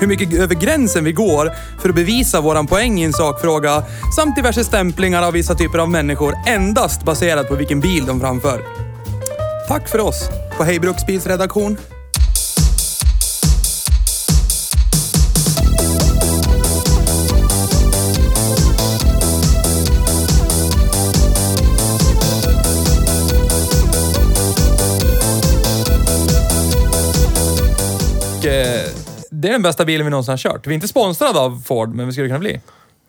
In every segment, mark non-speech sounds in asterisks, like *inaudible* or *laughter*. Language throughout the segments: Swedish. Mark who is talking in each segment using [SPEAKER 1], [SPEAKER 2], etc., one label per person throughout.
[SPEAKER 1] Hur mycket över gränsen vi går för att bevisa våran poäng i en sakfråga samt diverse stämplingar av vissa typer av människor endast baserat på vilken bil de framför. Tack för oss på Hej Bruksbils redaktion. Och, eh, Det är den bästa bilen vi någonsin har kört. Vi är inte sponsrade av Ford, men vi skulle kunna bli.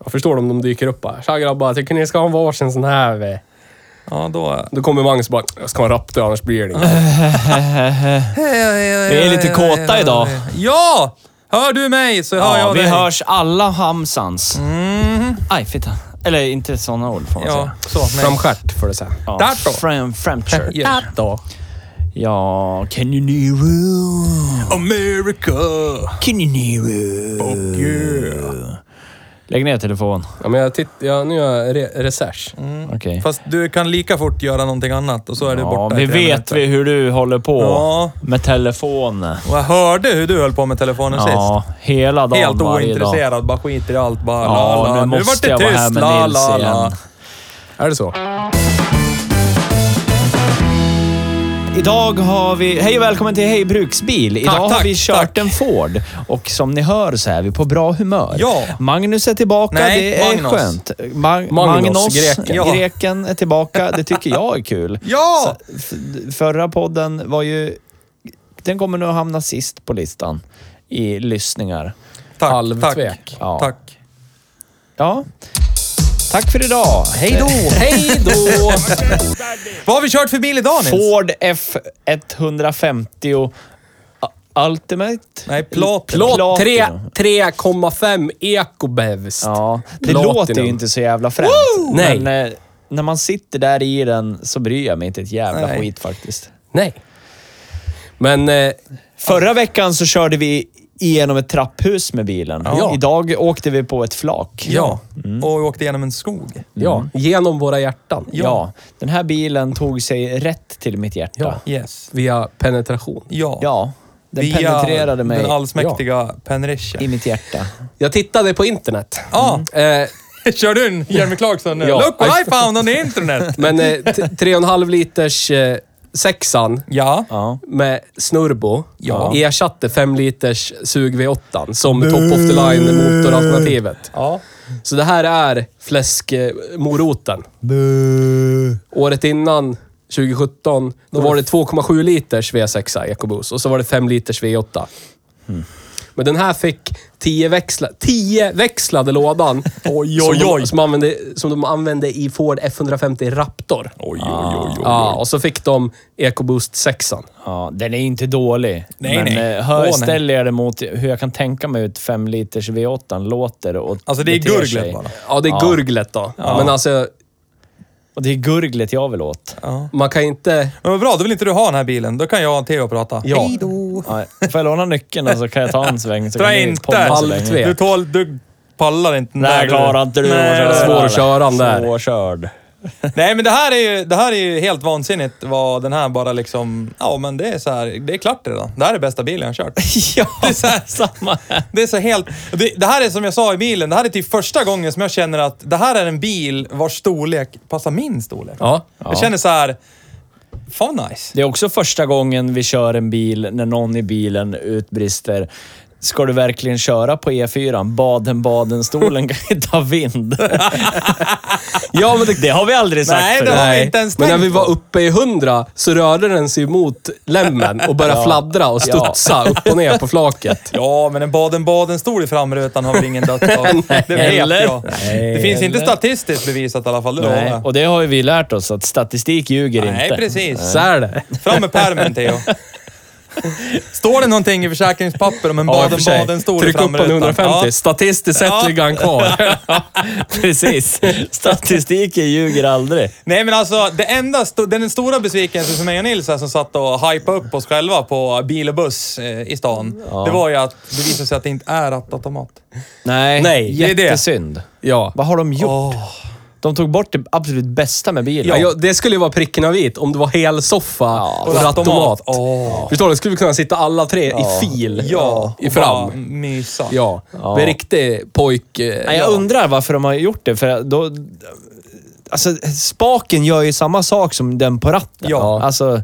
[SPEAKER 2] Jag förstår om de dyker upp bara. Tja grabbar, tycker ni ska ha en varsin sån här? eh?"
[SPEAKER 1] Ja, då...
[SPEAKER 2] Då kommer Magnus bara, jag ska ha en Raptor annars blir det inget.
[SPEAKER 1] Vi
[SPEAKER 3] är lite kåta idag.
[SPEAKER 1] Ja! Hör du mig så hör
[SPEAKER 3] Ja,
[SPEAKER 1] jag
[SPEAKER 3] vi
[SPEAKER 1] dig.
[SPEAKER 3] hörs alla hamsans. Aj, fitta. Eller inte sådana ord får man
[SPEAKER 1] Ja,
[SPEAKER 3] säga.
[SPEAKER 1] så. Nej.
[SPEAKER 2] Framstjärt får du säga.
[SPEAKER 3] Ja.
[SPEAKER 1] Där då. *laughs*
[SPEAKER 3] Fram, framture.
[SPEAKER 1] Yeah.
[SPEAKER 2] Då.
[SPEAKER 3] Ja, can you hear it?
[SPEAKER 1] America!
[SPEAKER 3] Can you hear it? Lägg ner telefonen.
[SPEAKER 2] Ja, men jag titt, ja, nu gör jag re- research.
[SPEAKER 3] Okej.
[SPEAKER 1] Mm. Fast du kan lika fort göra någonting annat och så är du
[SPEAKER 3] Ja,
[SPEAKER 1] borta i
[SPEAKER 3] vi
[SPEAKER 1] tre
[SPEAKER 3] vet
[SPEAKER 1] minuter.
[SPEAKER 3] vi hur du håller på
[SPEAKER 1] Ja.
[SPEAKER 3] med telefonen.
[SPEAKER 1] Och jag hörde hur du höll på med telefonen
[SPEAKER 3] Ja, hela
[SPEAKER 1] sist.
[SPEAKER 3] dagen
[SPEAKER 1] Helt
[SPEAKER 3] varje dag.
[SPEAKER 1] ointresserad, bara skiter i allt. Bara,
[SPEAKER 3] Ja,
[SPEAKER 1] la, la.
[SPEAKER 3] nu
[SPEAKER 1] vart
[SPEAKER 3] måste
[SPEAKER 1] det
[SPEAKER 3] jag vara här
[SPEAKER 1] tyst,
[SPEAKER 3] med
[SPEAKER 1] la,
[SPEAKER 3] Nils
[SPEAKER 1] la, la.
[SPEAKER 3] igen.
[SPEAKER 2] Är det så?
[SPEAKER 3] Idag har vi... Hej och välkommen till Hej Bruksbil. Idag
[SPEAKER 1] Tack,
[SPEAKER 3] har
[SPEAKER 1] tack,
[SPEAKER 3] vi kört
[SPEAKER 1] tack.
[SPEAKER 3] en Ford och som ni hör så är vi på bra humör.
[SPEAKER 1] Ja.
[SPEAKER 3] Magnus är tillbaka,
[SPEAKER 1] Nej,
[SPEAKER 3] det är
[SPEAKER 1] Magnus.
[SPEAKER 3] skönt.
[SPEAKER 2] Magnus,
[SPEAKER 3] Ma- Magnus
[SPEAKER 2] greken.
[SPEAKER 1] Ja.
[SPEAKER 3] greken är tillbaka,
[SPEAKER 1] *laughs*
[SPEAKER 3] det tycker jag är kul.
[SPEAKER 1] Ja!
[SPEAKER 3] F- Förra podden var ju... Den kommer nu att hamna sist på listan i lyssningar.
[SPEAKER 1] Tack,
[SPEAKER 2] Halvtvek.
[SPEAKER 1] tack.
[SPEAKER 3] Ja.
[SPEAKER 1] Tack.
[SPEAKER 3] Ja. Tack för idag. Eh,
[SPEAKER 1] Hej då.
[SPEAKER 3] Hej då!
[SPEAKER 1] Vad har vi kört för bil idag Nils?
[SPEAKER 3] Ford F150 Ultimate.
[SPEAKER 1] Nej, Platin.
[SPEAKER 2] Plåt tre-
[SPEAKER 3] Platinum.
[SPEAKER 2] 3,5 ekobevst.
[SPEAKER 3] Ja, det
[SPEAKER 2] Platinum.
[SPEAKER 3] låter ju inte så jävla fränt.
[SPEAKER 2] Nej.
[SPEAKER 3] Men eh, när man sitter där i den så bryr jag mig inte ett jävla
[SPEAKER 1] Nej.
[SPEAKER 3] skit faktiskt.
[SPEAKER 2] Nej. Men eh,
[SPEAKER 3] Förra veckan så körde vi igenom ett trapphus med bilen.
[SPEAKER 1] Ja.
[SPEAKER 3] Idag åkte vi på ett flak.
[SPEAKER 1] Ja, Mm. och vi åkte genom en skog.
[SPEAKER 2] ja, genom våra hjärtan.
[SPEAKER 3] Mm. Ja. Den här bilen tog sig rätt till mitt hjärta.
[SPEAKER 2] Ja.
[SPEAKER 3] Ja.
[SPEAKER 1] Yes.
[SPEAKER 2] Via penetration.
[SPEAKER 3] ja den
[SPEAKER 1] Via
[SPEAKER 3] penetrerade mig
[SPEAKER 1] Den allsmäktiga Penrisha.
[SPEAKER 3] i mitt hjärta.
[SPEAKER 2] Jag tittade på internet.
[SPEAKER 1] Ja,
[SPEAKER 2] Eh,
[SPEAKER 1] *laughs* kör du en Jeremy Clarkson nu?
[SPEAKER 2] Ja.
[SPEAKER 1] Look what I found on the internet!
[SPEAKER 2] men eh, t- 3,5 liters eh, sexan
[SPEAKER 1] Ja.
[SPEAKER 3] Ja.
[SPEAKER 2] med snurbo
[SPEAKER 3] Ja.
[SPEAKER 2] ersatte 5 liters sug V8 som top of the line motoralternativet.
[SPEAKER 1] ja.
[SPEAKER 2] Så det här är fläskmoroten. Året innan, 2017, då var det 2,7 liters V6 EcoBoost och så var det 5 liters V8.
[SPEAKER 1] Hmm.
[SPEAKER 2] Men den här fick 10 växla, 10 växlade lådan
[SPEAKER 1] *laughs* Oj,
[SPEAKER 2] som,
[SPEAKER 1] oj, oj.
[SPEAKER 2] De, som, använde, som de använde i Ford F150 Raptor.
[SPEAKER 1] Oj, oj, oj, oj.
[SPEAKER 2] Ja, och så fick de EcoBoost 6an.
[SPEAKER 3] Ja, den är inte dålig.
[SPEAKER 1] Nej,
[SPEAKER 3] men
[SPEAKER 1] nej.
[SPEAKER 3] eh, Hör,
[SPEAKER 1] Åh, nej.
[SPEAKER 3] ställer jag det mot hur jag kan tänka mig ut 5 liters V8 låter och
[SPEAKER 1] Alltså, det är
[SPEAKER 3] beter
[SPEAKER 1] gurglet
[SPEAKER 3] sig.
[SPEAKER 1] bara.
[SPEAKER 2] Ja, det är gurglet då. Men alltså,
[SPEAKER 3] Och det är gurglet jag vill åt.
[SPEAKER 2] man kan inte...
[SPEAKER 1] Men vad bra, då vill inte du ha den här bilen. Då kan jag och Theo prata.
[SPEAKER 2] Ja.
[SPEAKER 3] Ja, får jag låna nyckeln så kan jag ta en sväng? Så
[SPEAKER 1] Dra
[SPEAKER 3] kan ni
[SPEAKER 1] inte!
[SPEAKER 3] podda så länge.
[SPEAKER 2] Halvtve.
[SPEAKER 1] Du tål... Du pallar inte den
[SPEAKER 3] Nej,
[SPEAKER 1] där,
[SPEAKER 3] klarar inte du att
[SPEAKER 1] Nej,
[SPEAKER 3] köra.
[SPEAKER 2] Svårkörande där.
[SPEAKER 3] Svårkörd.
[SPEAKER 1] Nej, men det här är ju, det här är ju helt vansinnigt vad den här bara liksom... Ja, men det är så här, det är klart redan. Det här är bästa bilen jag har kört.
[SPEAKER 3] *laughs* Ja,
[SPEAKER 1] Det är så här,
[SPEAKER 3] samma här.
[SPEAKER 1] Det är så helt... Det, det här är som jag sa i bilen, det här är typ första gången som jag känner att det här är en bil vars storlek passar min storlek.
[SPEAKER 2] Ja.
[SPEAKER 1] Jag känner så här... Fan nice.
[SPEAKER 3] Det är också första gången vi kör en bil när någon i bilen utbrister. Ska du verkligen köra på E E4? Baden-Baden-stolen kan inte
[SPEAKER 1] *laughs*
[SPEAKER 3] ha vind. ja, men det, det har vi aldrig sagt
[SPEAKER 1] Nej,
[SPEAKER 3] förut.
[SPEAKER 1] det har vi inte ens
[SPEAKER 2] Men när
[SPEAKER 1] tänkt
[SPEAKER 2] vi var
[SPEAKER 1] på.
[SPEAKER 2] uppe i 100 så rörde den sig mot lämmen
[SPEAKER 1] *laughs*
[SPEAKER 2] och började
[SPEAKER 3] Ja.
[SPEAKER 2] fladdra och studsa upp och ner på flaket.
[SPEAKER 1] Ja, men en Baden-Baden-stol i framrutan har väl ingen dött av.
[SPEAKER 3] *laughs*
[SPEAKER 1] Det vet
[SPEAKER 3] Eller?
[SPEAKER 1] jag.
[SPEAKER 3] Nej,
[SPEAKER 1] det finns inte
[SPEAKER 3] eller?
[SPEAKER 1] statistiskt bevisat i alla fall. Det lovar
[SPEAKER 3] Nej,
[SPEAKER 1] jag.
[SPEAKER 3] och det har ju vi lärt oss att statistik ljuger
[SPEAKER 1] Nej,
[SPEAKER 3] inte.
[SPEAKER 1] precis.
[SPEAKER 2] Så är det.
[SPEAKER 1] Fram med pärmen, Theo. Står det någonting i försäkringspapper om en
[SPEAKER 2] Ja, i och för sig.
[SPEAKER 1] Baden-Baden-stol i
[SPEAKER 2] Tryck upp på en
[SPEAKER 1] framrutan?
[SPEAKER 2] 150. Statistiskt sett
[SPEAKER 1] *laughs* Ja.
[SPEAKER 2] ligger han kvar.
[SPEAKER 3] *laughs* Precis. Statistiken ljuger aldrig.
[SPEAKER 1] Nej men alltså, det enda, sto- den stora besvikelsen för mig och Nils här som satt och hypade upp oss själva på bil och buss eh, i stan, det var ju att det visade sig att det inte är rattautomat.
[SPEAKER 3] Nej,
[SPEAKER 2] Nej,
[SPEAKER 1] det är det.
[SPEAKER 3] jättesynd.
[SPEAKER 2] ja.
[SPEAKER 3] Vad har de gjort?
[SPEAKER 1] Åh.
[SPEAKER 3] De tog bort det absolut bästa med bilen.
[SPEAKER 2] Ja. jag- det skulle ju vara pricken av it om det var helsoffa och
[SPEAKER 1] och
[SPEAKER 2] rattomat.
[SPEAKER 1] rattomat. Åh.
[SPEAKER 2] Förstår du? Då skulle vi kunna sitta alla tre i fil
[SPEAKER 1] Ja,
[SPEAKER 2] i
[SPEAKER 1] och
[SPEAKER 2] fram.
[SPEAKER 1] bara mysa.
[SPEAKER 2] Ja. Med riktig pojk... eh,
[SPEAKER 3] Nej, jag undrar varför de har gjort det, för då... Alltså, spaken gör ju samma sak som den på ratten.
[SPEAKER 1] Ja.
[SPEAKER 3] Alltså,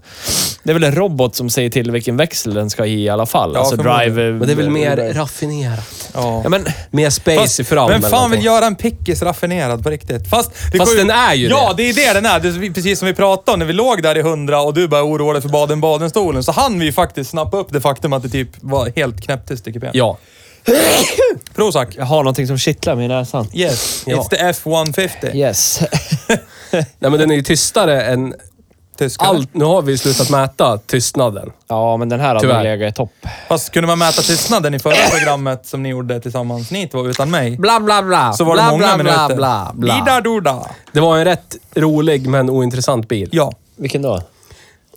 [SPEAKER 3] det är väl en robot som säger till vilken växel den ska i i alla fall.
[SPEAKER 1] Ja,
[SPEAKER 3] alltså
[SPEAKER 1] förmodligen.
[SPEAKER 3] drive...
[SPEAKER 2] Men det är väl mer raffinerat.
[SPEAKER 1] Ja.
[SPEAKER 3] Ja, men...
[SPEAKER 2] Mer space i fram.
[SPEAKER 1] vem
[SPEAKER 2] eller
[SPEAKER 1] fan vill
[SPEAKER 2] någonting.
[SPEAKER 1] göra en pickis raffinerad på riktigt? Fast, det
[SPEAKER 2] Fast
[SPEAKER 1] går
[SPEAKER 2] den är ju
[SPEAKER 1] Ja,
[SPEAKER 2] det.
[SPEAKER 1] det är det den är. Det är precis som vi pratade om när vi låg där i hundra och du började oroa dig för Baden-Baden-stolen. Så hann vi ju faktiskt snappa upp det faktum att det typ var helt knäpptyst i kupén.
[SPEAKER 2] Ja.
[SPEAKER 1] Prozac.
[SPEAKER 3] Jag har någonting som kittlar mig i näsan.
[SPEAKER 1] Yes,
[SPEAKER 2] Ja.
[SPEAKER 1] it's the F150.
[SPEAKER 3] Yes. *laughs*
[SPEAKER 2] Nej, men den är ju tystare än
[SPEAKER 1] Tyskare.
[SPEAKER 2] allt. Nu har vi ju slutat mäta tystnaden.
[SPEAKER 3] Ja, men den här hade
[SPEAKER 2] Tyvärr.
[SPEAKER 3] legat i topp.
[SPEAKER 1] Fast kunde man mäta tystnaden i förra programmet som ni gjorde tillsammans, ni två, utan mig?
[SPEAKER 2] Bla, bla, bla.
[SPEAKER 1] Så var det
[SPEAKER 2] bla,
[SPEAKER 1] många
[SPEAKER 2] bla,
[SPEAKER 1] minuter.
[SPEAKER 2] Bla, bla, bla.
[SPEAKER 1] Ida-doda.
[SPEAKER 2] Det var en rätt rolig men ointressant bil.
[SPEAKER 1] Ja,
[SPEAKER 3] Vilken då?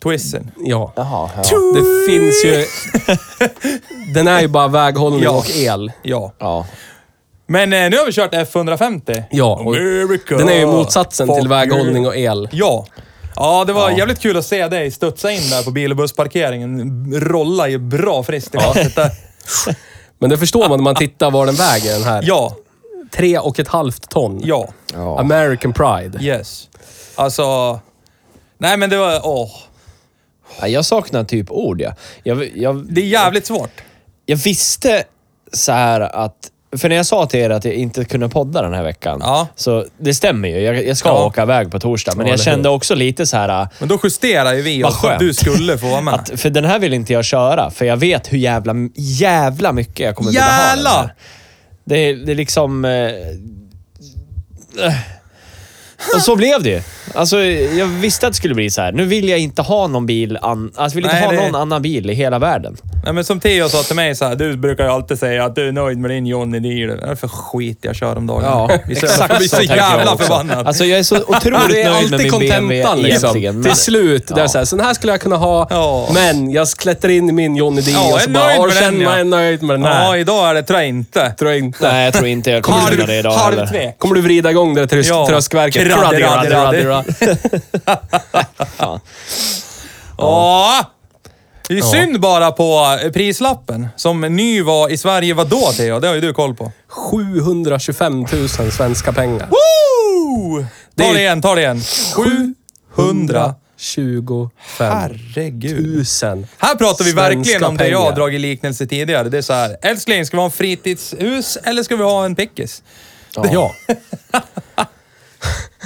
[SPEAKER 1] twisten.
[SPEAKER 2] Ja.
[SPEAKER 3] Jaha, ja.
[SPEAKER 2] Det
[SPEAKER 1] *laughs*
[SPEAKER 2] finns ju... Den är ju bara väghållning
[SPEAKER 1] Ja.
[SPEAKER 2] och el.
[SPEAKER 1] Ja.
[SPEAKER 3] ja.
[SPEAKER 1] Men eh, nu har vi kört F150.
[SPEAKER 2] Ja, och
[SPEAKER 1] America.
[SPEAKER 2] Den är ju motsatsen
[SPEAKER 1] Fuck
[SPEAKER 2] till väghållning
[SPEAKER 1] you.
[SPEAKER 2] och el.
[SPEAKER 1] Ja. Ja, det var jävligt kul att se dig studsa in där på bil och bussparkeringen. Rolla ju bra friskt i glasset där.
[SPEAKER 2] Men det förstår man när man tittar vad den väger, den här.
[SPEAKER 1] Ja,
[SPEAKER 2] Tre och ett halvt ton.
[SPEAKER 1] ja,
[SPEAKER 3] Ja.
[SPEAKER 2] American Pride.
[SPEAKER 1] yes. Alltså... Nej men det var... Åh.
[SPEAKER 3] Ja, Jag saknar typ ord, ja. Jag, jag,
[SPEAKER 1] Det är jävligt svårt.
[SPEAKER 3] jag visste så här att... För när jag sa till er att jag inte kunde podda den här veckan,
[SPEAKER 1] Ja.
[SPEAKER 3] så det stämmer ju. Jag, jag ska
[SPEAKER 1] Ja.
[SPEAKER 3] åka iväg på torsdag, men
[SPEAKER 2] Ja,
[SPEAKER 3] jag
[SPEAKER 2] eller
[SPEAKER 3] kände också lite så här...
[SPEAKER 1] Men då justerar ju vi
[SPEAKER 3] Vad
[SPEAKER 1] oss så att
[SPEAKER 3] skönt.
[SPEAKER 1] du skulle få vara med.
[SPEAKER 3] Att, för den här vill inte jag köra, för jag vet hur jävla, jävla mycket jag kommer vilja ha den
[SPEAKER 1] Jävlar!
[SPEAKER 3] här. Det, är- det är liksom... Eh, äh. och så blev det ju. Alltså, jag visste att det skulle bli så här. Nu vill jag inte ha någon bil an, alltså, vill inte
[SPEAKER 1] Nej,
[SPEAKER 3] ha
[SPEAKER 1] det-
[SPEAKER 3] någon annan bil i hela världen.
[SPEAKER 1] Nej men som Theo sa till mig så här, du brukar ju alltid säga att du är nöjd med din Johnny Deal. Vad är det för skit jag kör om dagen? vi är så, vi är så
[SPEAKER 3] tänker jag
[SPEAKER 1] jävla
[SPEAKER 3] också.
[SPEAKER 1] förbannad.
[SPEAKER 3] Alltså jag är så
[SPEAKER 2] Det
[SPEAKER 3] otroligt
[SPEAKER 2] är
[SPEAKER 3] nöjd med
[SPEAKER 2] alltid
[SPEAKER 3] min BMW
[SPEAKER 2] kontentan liksom.
[SPEAKER 3] egentligen. Men,
[SPEAKER 2] Till slut. Det är så här, så den här skulle jag kunna ha,
[SPEAKER 1] Ja.
[SPEAKER 2] men jag klättrar in i min Johnny D
[SPEAKER 1] Ja,
[SPEAKER 2] och
[SPEAKER 1] jag
[SPEAKER 2] så
[SPEAKER 1] är
[SPEAKER 2] bara,
[SPEAKER 1] nöjd
[SPEAKER 2] "Åh,
[SPEAKER 1] med
[SPEAKER 2] känner
[SPEAKER 1] den, ja."
[SPEAKER 2] mig nöjd med den här.
[SPEAKER 1] Ja, idag är det tror jag inte.
[SPEAKER 2] Tror jag inte.
[SPEAKER 3] nej, jag tror inte jag kommer kunna det idag
[SPEAKER 1] Halv
[SPEAKER 3] heller.
[SPEAKER 1] tvek.
[SPEAKER 2] Kommer du vrida igång det där tröst,
[SPEAKER 1] Ja.
[SPEAKER 2] tröskverket?
[SPEAKER 1] Raddi, raddi,
[SPEAKER 2] Raddi, raddi, raddi.
[SPEAKER 1] Ja. Det är synd bara på eh, prislappen. Som ny var i Sverige, vadå Theo? Det har ju du koll på.
[SPEAKER 2] 725 000 svenska pengar.
[SPEAKER 1] Woo!
[SPEAKER 2] Det
[SPEAKER 1] Ta
[SPEAKER 2] är-
[SPEAKER 1] det igen, ta det igen. 700.
[SPEAKER 2] 125
[SPEAKER 1] Herregud.
[SPEAKER 2] 000.
[SPEAKER 1] Här pratar vi
[SPEAKER 2] Svenska
[SPEAKER 1] verkligen om det jag har
[SPEAKER 2] pengar.
[SPEAKER 1] dragit liknelse tidigare. Det är så här, älskling, ska vi ha en fritidshus eller ska vi ha en pickis?
[SPEAKER 2] *laughs* Ja.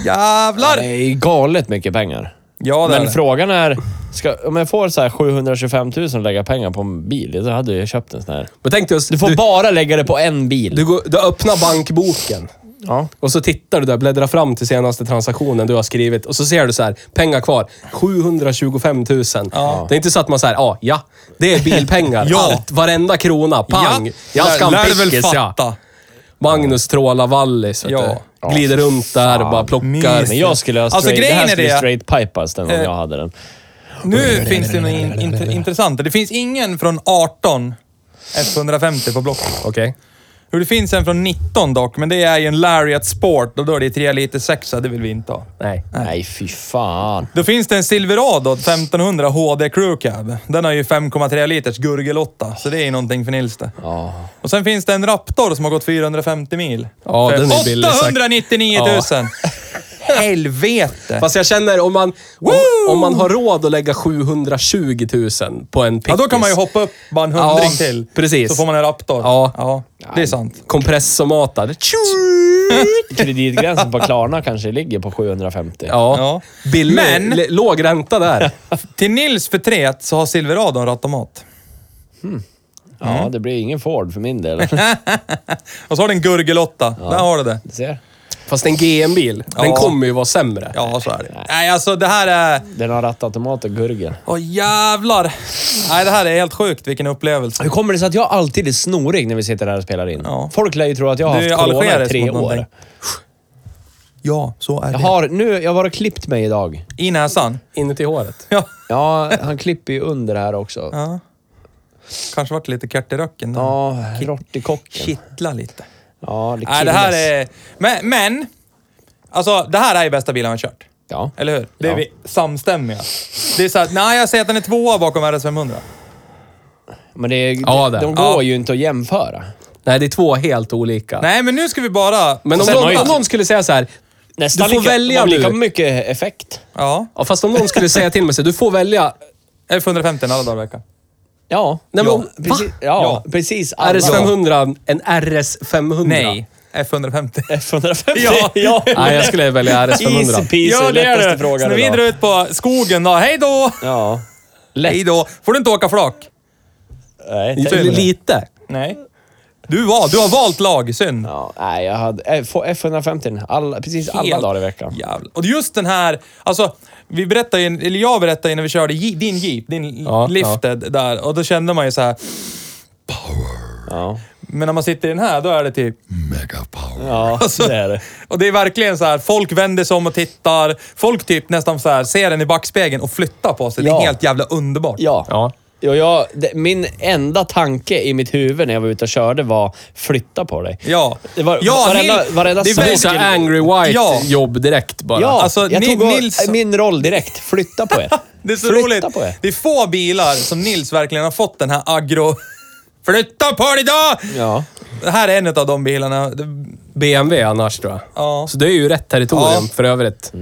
[SPEAKER 1] Jävlar!
[SPEAKER 3] Det är galet mycket pengar.
[SPEAKER 1] Ja, det är
[SPEAKER 3] Men
[SPEAKER 1] det.
[SPEAKER 3] frågan är, ska, om jag får så här 725 000 att lägga pengar på en bil, då hade jag köpt en sån här.
[SPEAKER 2] Men tänk dig, att
[SPEAKER 3] Du får
[SPEAKER 2] du,
[SPEAKER 3] bara lägga det på en bil.
[SPEAKER 2] du, går, du öppnar bankboken
[SPEAKER 3] ja.
[SPEAKER 2] och så tittar du där, bläddrar fram till senaste transaktionen du har skrivit och så ser du så här, pengar kvar. 725 000.
[SPEAKER 1] Ja.
[SPEAKER 2] Det är inte så att man säger, ah, ja, det är bilpengar.
[SPEAKER 1] *laughs* Ja.
[SPEAKER 2] Allt, varenda krona, pang. Jag ska ha
[SPEAKER 1] lär
[SPEAKER 2] en
[SPEAKER 1] du väl
[SPEAKER 2] pickis, ja.
[SPEAKER 1] fatta.
[SPEAKER 2] Magnus trålar Wallis, vet
[SPEAKER 1] Ja.
[SPEAKER 2] du. Glider runt där och bara plockar.
[SPEAKER 1] Mys.
[SPEAKER 3] Men jag skulle ha
[SPEAKER 1] Alltså,
[SPEAKER 3] straight, det
[SPEAKER 1] grejen
[SPEAKER 3] här
[SPEAKER 1] är
[SPEAKER 3] skulle
[SPEAKER 1] det-
[SPEAKER 3] straight pipas den om
[SPEAKER 1] Eh,
[SPEAKER 3] jag hade den.
[SPEAKER 1] Nu finns det något in, int- intressant. Det finns ingen från 18 F150 på blocket.
[SPEAKER 2] Okej.
[SPEAKER 1] Jo, det finns en från 19 dock, men det är ju en Lariat Sport och då är det 3 liter sexa, det vill vi inte ha.
[SPEAKER 2] Nej.
[SPEAKER 3] Nej, fy fan.
[SPEAKER 1] Då finns det en Silverado 1500 HD Crew Cab. Den har ju 5,3 liters gurgelotta, så det är ju någonting för Nils det.
[SPEAKER 3] Ja.
[SPEAKER 1] Och sen finns det en Raptor som har gått 450 mil.
[SPEAKER 2] Ja,
[SPEAKER 1] för
[SPEAKER 2] den är billig, säkert.
[SPEAKER 1] 899 000!
[SPEAKER 2] *laughs*
[SPEAKER 1] Helvete!
[SPEAKER 2] Fast jag känner om man, om,
[SPEAKER 1] Woo!
[SPEAKER 2] om man har råd att lägga 720 000 på en pickis.
[SPEAKER 1] Ja, då kan man ju hoppa upp bara en hundring
[SPEAKER 2] Ja,
[SPEAKER 1] till.
[SPEAKER 2] precis.
[SPEAKER 1] Så får man en Raptor.
[SPEAKER 2] Ja.
[SPEAKER 1] det är sant.
[SPEAKER 2] Kompressormatad.
[SPEAKER 3] Kreditgränsen på Klarna kanske ligger på 750.
[SPEAKER 2] Ja.
[SPEAKER 1] Ja.
[SPEAKER 2] Billig,
[SPEAKER 1] Men-
[SPEAKER 2] Men... låg ränta där.
[SPEAKER 1] Till Nils förtret så har Silverado en rattomat.
[SPEAKER 3] Ja,
[SPEAKER 1] *laughs*
[SPEAKER 3] det blir ingen Ford för min del.
[SPEAKER 1] Och så har den gurgelotta. Där har du det.
[SPEAKER 3] Du ser.
[SPEAKER 2] Fast en GM-bil, den
[SPEAKER 1] Ja.
[SPEAKER 2] kommer ju vara sämre.
[SPEAKER 1] Ja, så är det. Nej, alltså det här är...
[SPEAKER 3] Den har rattautomat och gurgel.
[SPEAKER 1] Åh jävlar! Nej, det här är helt sjukt. Vilken upplevelse.
[SPEAKER 3] Hur kommer det sig att jag alltid är snorig när vi sitter här och spelar in?
[SPEAKER 1] Ja.
[SPEAKER 3] Folk lär ju tro att jag har
[SPEAKER 1] Du är
[SPEAKER 3] haft corona i
[SPEAKER 1] algerisk
[SPEAKER 3] tre
[SPEAKER 1] mot
[SPEAKER 3] år.
[SPEAKER 1] någonting. Ja, så är det.
[SPEAKER 3] Jag har, nu, jag har varit och klippt mig idag.
[SPEAKER 1] I näsan.
[SPEAKER 2] Inuti håret.
[SPEAKER 1] Ja.
[SPEAKER 3] Ja, han klipper ju under här också. Ja,
[SPEAKER 1] ja. Kanske varit lite kärt i röcken. där.
[SPEAKER 3] rortikocken.
[SPEAKER 1] Kittla lite.
[SPEAKER 3] Ja, det,
[SPEAKER 1] Nej, det här
[SPEAKER 3] killas.
[SPEAKER 1] är... Men, men! Alltså, det här är ju bästa bilen jag har kört.
[SPEAKER 3] Ja.
[SPEAKER 1] Eller hur? Det är
[SPEAKER 3] Ja.
[SPEAKER 1] vi samstämmiga. Det är så här, nej, jag säger att den är tvåa bakom RS500.
[SPEAKER 3] Men det, är-
[SPEAKER 2] Ja, det.
[SPEAKER 3] de går
[SPEAKER 1] Ja.
[SPEAKER 3] ju inte att jämföra.
[SPEAKER 2] Nej, det är två helt olika.
[SPEAKER 1] Nej, men nu ska vi bara...
[SPEAKER 2] Men om
[SPEAKER 3] Sen har
[SPEAKER 2] någon,
[SPEAKER 3] ju-
[SPEAKER 2] om någon skulle säga så här.
[SPEAKER 3] Nästan
[SPEAKER 2] du får
[SPEAKER 3] lika,
[SPEAKER 2] välja
[SPEAKER 3] de har
[SPEAKER 2] nu.
[SPEAKER 3] lika mycket effekt.
[SPEAKER 1] Ja,
[SPEAKER 2] Ja, fast om någon skulle säga till mig så här, du får välja.
[SPEAKER 1] F150 alla dagar i veckan.
[SPEAKER 3] Ja.
[SPEAKER 2] Nej, men
[SPEAKER 1] Ja.
[SPEAKER 2] om, va?
[SPEAKER 3] Precis, ja,
[SPEAKER 1] Ja.
[SPEAKER 3] precis. alla.
[SPEAKER 2] RS500, en RS500.
[SPEAKER 1] Nej, F150.
[SPEAKER 3] F150.
[SPEAKER 1] *laughs* Ja.
[SPEAKER 3] ja.
[SPEAKER 2] Nej, jag skulle välja
[SPEAKER 3] Easy
[SPEAKER 2] RS500.
[SPEAKER 3] peasy, lättaste frågan
[SPEAKER 1] Så vi
[SPEAKER 3] idag.
[SPEAKER 1] drar ut på skogen då. Hej då!
[SPEAKER 3] Ja.
[SPEAKER 1] Hej då! Får du inte åka flak?
[SPEAKER 3] Nej,
[SPEAKER 2] Lite-
[SPEAKER 3] tänk på det.
[SPEAKER 2] Lite.
[SPEAKER 1] Nej. Du, var, du har valt lag, synd.
[SPEAKER 3] Ja, nej, jag hade eh, F- F150 alla, precis alla
[SPEAKER 1] Helt
[SPEAKER 3] dagar i veckan.
[SPEAKER 1] Jävlar. Och just den här, alltså, vi berättade, ju- eller jag berättade ju när vi körde je- din Jeep, din
[SPEAKER 2] Ja,
[SPEAKER 1] Lifted där, och då kände man ju så här.
[SPEAKER 3] Ja,
[SPEAKER 1] men när man sitter i den här, då är det typ...
[SPEAKER 3] *laughs* ja
[SPEAKER 1] Alltså,
[SPEAKER 3] det är det.
[SPEAKER 1] Och det är verkligen så här, folk vänder sig om och tittar. Folk typ nästan så här, ser den i backspegeln och flyttar på sig. Det
[SPEAKER 3] Ja.
[SPEAKER 1] är helt jävla underbart.
[SPEAKER 3] Ja.
[SPEAKER 2] Ja.
[SPEAKER 3] Och jag, det, min enda tanke i mitt huvud när jag var ute och körde var flytta på dig.
[SPEAKER 1] Ja.
[SPEAKER 3] Det var-
[SPEAKER 1] ja,
[SPEAKER 3] varenda-
[SPEAKER 1] Nil-
[SPEAKER 3] varenda
[SPEAKER 1] det är
[SPEAKER 2] Det blir
[SPEAKER 3] sak-
[SPEAKER 1] väldigt-
[SPEAKER 2] så här angry white
[SPEAKER 1] Ja.
[SPEAKER 2] jobb direkt bara.
[SPEAKER 3] Ja,
[SPEAKER 1] Alltså,
[SPEAKER 3] jag
[SPEAKER 1] Ni-
[SPEAKER 3] tog och, äh,
[SPEAKER 1] Nils-
[SPEAKER 3] min roll direkt. Flytta på er.
[SPEAKER 1] *laughs* Det är så
[SPEAKER 3] flytta
[SPEAKER 1] roligt.
[SPEAKER 3] på er.
[SPEAKER 1] Det är få bilar som Nils verkligen har fått den här aggro... *laughs* Flytta på dig då!
[SPEAKER 3] Ja.
[SPEAKER 1] Det här är en av de bilarna. Det-
[SPEAKER 2] BMW annars tror jag.
[SPEAKER 1] Ja.
[SPEAKER 2] Så det är ju rätt territorium
[SPEAKER 1] Ja.
[SPEAKER 2] för övrigt.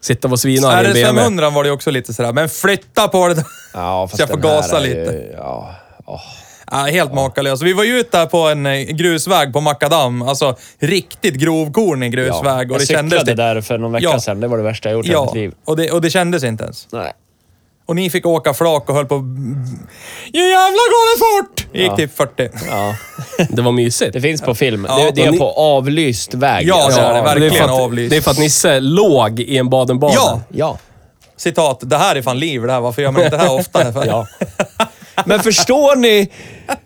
[SPEAKER 2] Sitta och vara svinarg i en BMW.
[SPEAKER 1] RS500 var det ju också lite sådär, men flytta på det då.
[SPEAKER 3] Ja, fast
[SPEAKER 1] Så jag får
[SPEAKER 3] den här
[SPEAKER 1] gasa
[SPEAKER 3] är ju-
[SPEAKER 1] lite.
[SPEAKER 3] Ja. Åh.
[SPEAKER 1] *laughs* Ja, helt makalös. Vi var ju ute där på en eh, grusväg på makadam. Alltså riktigt grovkornig
[SPEAKER 3] Ja.
[SPEAKER 1] grusväg. och
[SPEAKER 3] jag
[SPEAKER 1] det
[SPEAKER 3] cyklade
[SPEAKER 1] kändes
[SPEAKER 3] det
[SPEAKER 1] inte-
[SPEAKER 3] där för någon vecka
[SPEAKER 1] Ja.
[SPEAKER 3] sedan. Det var det värsta jag gjort i hela
[SPEAKER 1] Ja,
[SPEAKER 3] mitt liv.
[SPEAKER 1] och det, och det kändes inte ens.
[SPEAKER 3] Nej.
[SPEAKER 1] Och ni fick åka flak och höll på... Ja, jävlar går det fort! Det gick
[SPEAKER 3] Ja.
[SPEAKER 1] typ 40.
[SPEAKER 3] Ja.
[SPEAKER 2] Det var mysigt.
[SPEAKER 3] Det finns på film.
[SPEAKER 1] Ja,
[SPEAKER 3] det, det
[SPEAKER 1] och
[SPEAKER 3] är
[SPEAKER 1] ni-
[SPEAKER 3] på avlyst väg. Alltså,
[SPEAKER 1] Ja, det är det.
[SPEAKER 2] men
[SPEAKER 1] verkligen
[SPEAKER 2] det är för att,
[SPEAKER 1] avlyst.
[SPEAKER 2] Det är för att Nisse låg i en Baden-Baden.
[SPEAKER 1] Ja!
[SPEAKER 3] ja.
[SPEAKER 1] Citat, det här är fan liv det här. Varför gör man inte det
[SPEAKER 3] *laughs*
[SPEAKER 1] här oftare? För? *laughs*
[SPEAKER 3] Ja. Men förstår ni?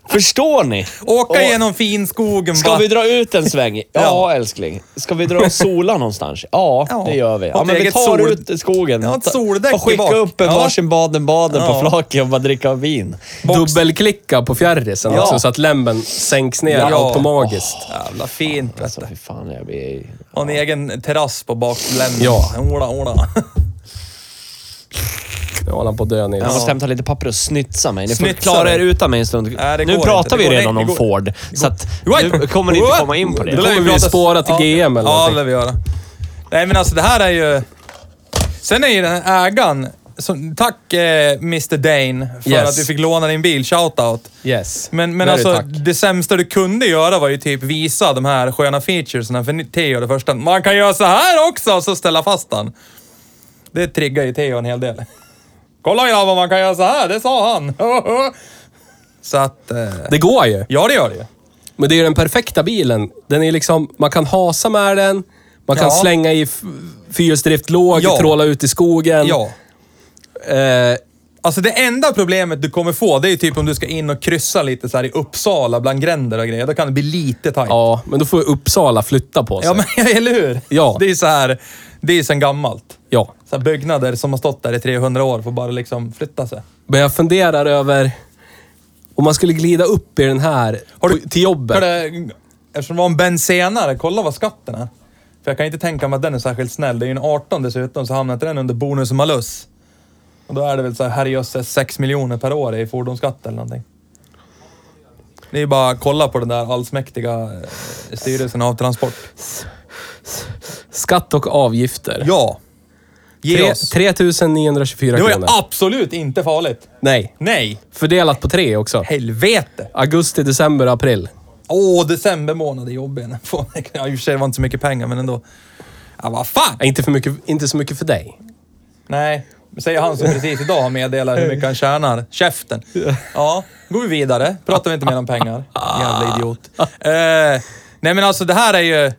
[SPEAKER 3] Förstår ni?
[SPEAKER 1] Åka
[SPEAKER 3] Och-
[SPEAKER 1] genom finskogen
[SPEAKER 3] Ska
[SPEAKER 1] bara.
[SPEAKER 3] vi dra ut en sväng? Ja,
[SPEAKER 1] *laughs* Ja.
[SPEAKER 3] älskling. Ska vi dra och sola någonstans? Ja,
[SPEAKER 1] Ja.
[SPEAKER 3] det gör vi.
[SPEAKER 1] Och
[SPEAKER 3] Ja, men vi
[SPEAKER 1] eget
[SPEAKER 3] tar
[SPEAKER 1] sol-
[SPEAKER 3] ut i skogen.
[SPEAKER 1] Ja, ett soldäck
[SPEAKER 3] och skicka
[SPEAKER 1] bak.
[SPEAKER 3] upp en
[SPEAKER 1] Ja.
[SPEAKER 3] varsin Baden-Baden
[SPEAKER 1] Ja.
[SPEAKER 3] på flaket och bara dricka vin.
[SPEAKER 1] Box.
[SPEAKER 2] Dubbelklicka på fjärrisen
[SPEAKER 3] Ja.
[SPEAKER 2] också, så att lämmen sänks ner
[SPEAKER 1] Ja.
[SPEAKER 2] automatiskt.
[SPEAKER 1] Jävla fint vet
[SPEAKER 3] Alltså,
[SPEAKER 1] du.
[SPEAKER 3] fy fan. Jag blir...
[SPEAKER 1] Och en egen terrass på baklämmen.
[SPEAKER 2] Ja.
[SPEAKER 1] Ola, ola.
[SPEAKER 2] Nu håller han på att dö Nils.
[SPEAKER 3] Jag måste hämta lite papper och snytsa mig. Ni får
[SPEAKER 1] Snytsa
[SPEAKER 3] klara er
[SPEAKER 1] dig.
[SPEAKER 3] utan mig en stund.
[SPEAKER 1] Nej, det
[SPEAKER 3] nu
[SPEAKER 1] går inte.
[SPEAKER 3] pratar
[SPEAKER 1] Det
[SPEAKER 3] vi
[SPEAKER 1] går-
[SPEAKER 3] redan
[SPEAKER 1] nej,
[SPEAKER 3] om
[SPEAKER 1] det går-
[SPEAKER 3] Ford, så att
[SPEAKER 1] What?
[SPEAKER 3] nu kommer ni inte
[SPEAKER 1] What?
[SPEAKER 3] komma in på
[SPEAKER 1] Då
[SPEAKER 2] Då
[SPEAKER 1] lär
[SPEAKER 3] det.
[SPEAKER 2] kommer vi
[SPEAKER 1] prata-
[SPEAKER 2] spåra till
[SPEAKER 1] ja.
[SPEAKER 2] GM eller
[SPEAKER 1] Ja, det
[SPEAKER 2] någonting.
[SPEAKER 1] lär vi göra. Nej, men alltså det här är ju... Sen är ju den här ägaren... Som, tack eh, Mr Dane för
[SPEAKER 2] Yes.
[SPEAKER 1] att vi fick låna din bil. Shoutout.
[SPEAKER 2] Yes.
[SPEAKER 1] Men, men
[SPEAKER 2] Very
[SPEAKER 1] alltså,
[SPEAKER 2] tack.
[SPEAKER 1] det sämsta du kunde göra var ju typ visa de här sköna featuresen för Teo det första. Man kan göra så här också och så ställa fast den. Det triggar ju Teo en hel del. *laughs* Kolla grabbar, man kan göra så här. Det sa han. *laughs* så att... Eh,
[SPEAKER 2] Det går ju.
[SPEAKER 1] ja, det gör det ju.
[SPEAKER 2] Men det är ju den perfekta bilen. Den är liksom, man kan hasa med den, man kan
[SPEAKER 1] Ja.
[SPEAKER 2] slänga i f- fyrhjulsdrift låg,
[SPEAKER 1] Ja.
[SPEAKER 2] tråla ut i skogen.
[SPEAKER 1] Ja.
[SPEAKER 2] Eh,
[SPEAKER 1] Alltså det enda problemet du kommer få, det är ju typ om du ska in och kryssa lite så här i Uppsala bland gränder och grejer. Då kan det bli lite tajt. Ja,
[SPEAKER 2] ja, men då får ju Uppsala flytta på sig. Ja.
[SPEAKER 1] men *laughs* eller hur?
[SPEAKER 2] Ja.
[SPEAKER 1] Det är ju så här, det är ju sen gammalt.
[SPEAKER 2] ja.
[SPEAKER 1] Så här byggnader som har stått där i 300 år får bara liksom flytta sig.
[SPEAKER 2] Men jag funderar över om man skulle glida upp i den här på, till jobbet.
[SPEAKER 1] Hörde, eftersom det var en bensenare, kolla vad skatten är. För jag kan inte tänka mig att den är särskilt snäll. Det är ju en 18 dessutom, så hamnar inte den under bonus och malus. Och då är det väl så här, herrejösses, 6 miljoner per år i fordonsskatt eller någonting. Det är ju bara att kolla på den där allsmäktiga eh, styrelsen av transport.
[SPEAKER 2] Skatt och avgifter.
[SPEAKER 1] Ja! Ge
[SPEAKER 2] Tre-
[SPEAKER 1] oss! Ah!
[SPEAKER 2] 3924
[SPEAKER 1] Det var ju
[SPEAKER 2] kronor.
[SPEAKER 1] absolut inte farligt!
[SPEAKER 2] Nej.
[SPEAKER 1] Nej!
[SPEAKER 2] Fördelat på tre också.
[SPEAKER 1] Helvete!
[SPEAKER 2] Augusti, december, april.
[SPEAKER 1] Åh, december månad är jobbig. *laughs* Fan, Ja, i och för sig var det inte så mycket pengar, men ändå. Ja, vad fan!
[SPEAKER 2] Nej, Inte, för mycket, inte så mycket för dig. Alltså,
[SPEAKER 1] Nej, säger han som precis idag har meddelat hur mycket han tjänar. Käften. Ja, går vi vidare. Pratar vi inte mer om pengar. Jävla idiot. Eh, nej men alltså det här är ju...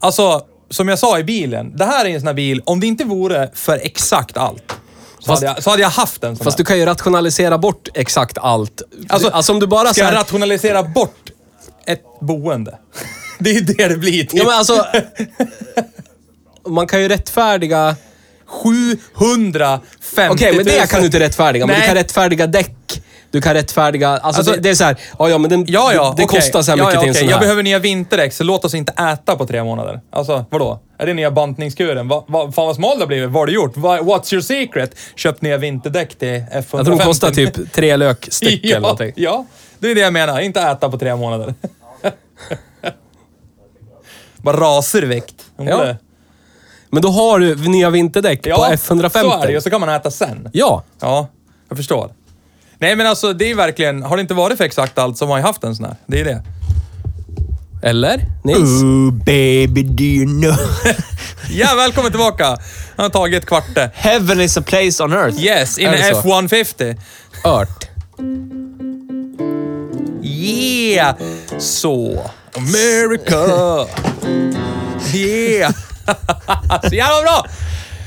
[SPEAKER 1] Alltså, som jag sa i bilen, det här är en sån här bil, om det inte vore för exakt allt, så,
[SPEAKER 2] Fast-
[SPEAKER 1] hade, jag, så hade jag haft en sån
[SPEAKER 2] Fast
[SPEAKER 1] här.
[SPEAKER 2] du kan ju rationalisera bort exakt allt. Alltså, alltså om du bara...
[SPEAKER 1] Ska
[SPEAKER 2] så här-
[SPEAKER 1] jag rationalisera bort ett boende? *laughs* det är ju det det blir. Typ.
[SPEAKER 2] Ja,
[SPEAKER 1] *laughs*
[SPEAKER 2] men alltså... Man kan ju rättfärdiga...
[SPEAKER 1] 750
[SPEAKER 2] Okej, men det kan du inte rättfärdiga. Men
[SPEAKER 1] Nej.
[SPEAKER 2] du kan rättfärdiga däck. Du kan rättfärdiga... Alltså,
[SPEAKER 1] Alltså-
[SPEAKER 2] det, det är så här, ja, ja, men den,
[SPEAKER 1] Ja, ja.
[SPEAKER 2] det, det
[SPEAKER 1] okej.
[SPEAKER 2] kostar så här
[SPEAKER 1] ja,
[SPEAKER 2] mycket
[SPEAKER 1] ja,
[SPEAKER 2] till en
[SPEAKER 1] okej.
[SPEAKER 2] sån här.
[SPEAKER 1] Jag behöver nya vinterdäck, så låt oss inte äta på tre månader. Alltså, vadå? Är det nya bantningskuren? Va, va, fan vad smal det har blivit. Vad har du gjort? Va, what's your secret? Köpt nya vinterdäck till F150.
[SPEAKER 2] Jag tror de kostar typ tre lök
[SPEAKER 1] *laughs*
[SPEAKER 2] styck eller
[SPEAKER 1] ja,
[SPEAKER 2] någonting.
[SPEAKER 1] ja, det är det jag menar. Inte äta på tre månader. *laughs* Bara raser i vikt.
[SPEAKER 2] Ja. Men då har du nya vinterdäck på F150.
[SPEAKER 1] så är det ju. Så kan man äta sen.
[SPEAKER 2] Ja.
[SPEAKER 1] Ja, jag förstår. Nej men alltså, det är verkligen... Har det inte varit för exakt allt som har jag haft en sån här. Det är det.
[SPEAKER 2] Eller? Nils?
[SPEAKER 4] Ooh, baby, do you know?
[SPEAKER 1] Ja, välkommen tillbaka! Han har tagit kvarte.
[SPEAKER 4] Heaven is a place on earth.
[SPEAKER 1] Yes, in
[SPEAKER 2] Är det så?
[SPEAKER 1] F150.
[SPEAKER 2] Ört.
[SPEAKER 1] Yeah! Så. America! Yeah! *laughs* Så jävla bra!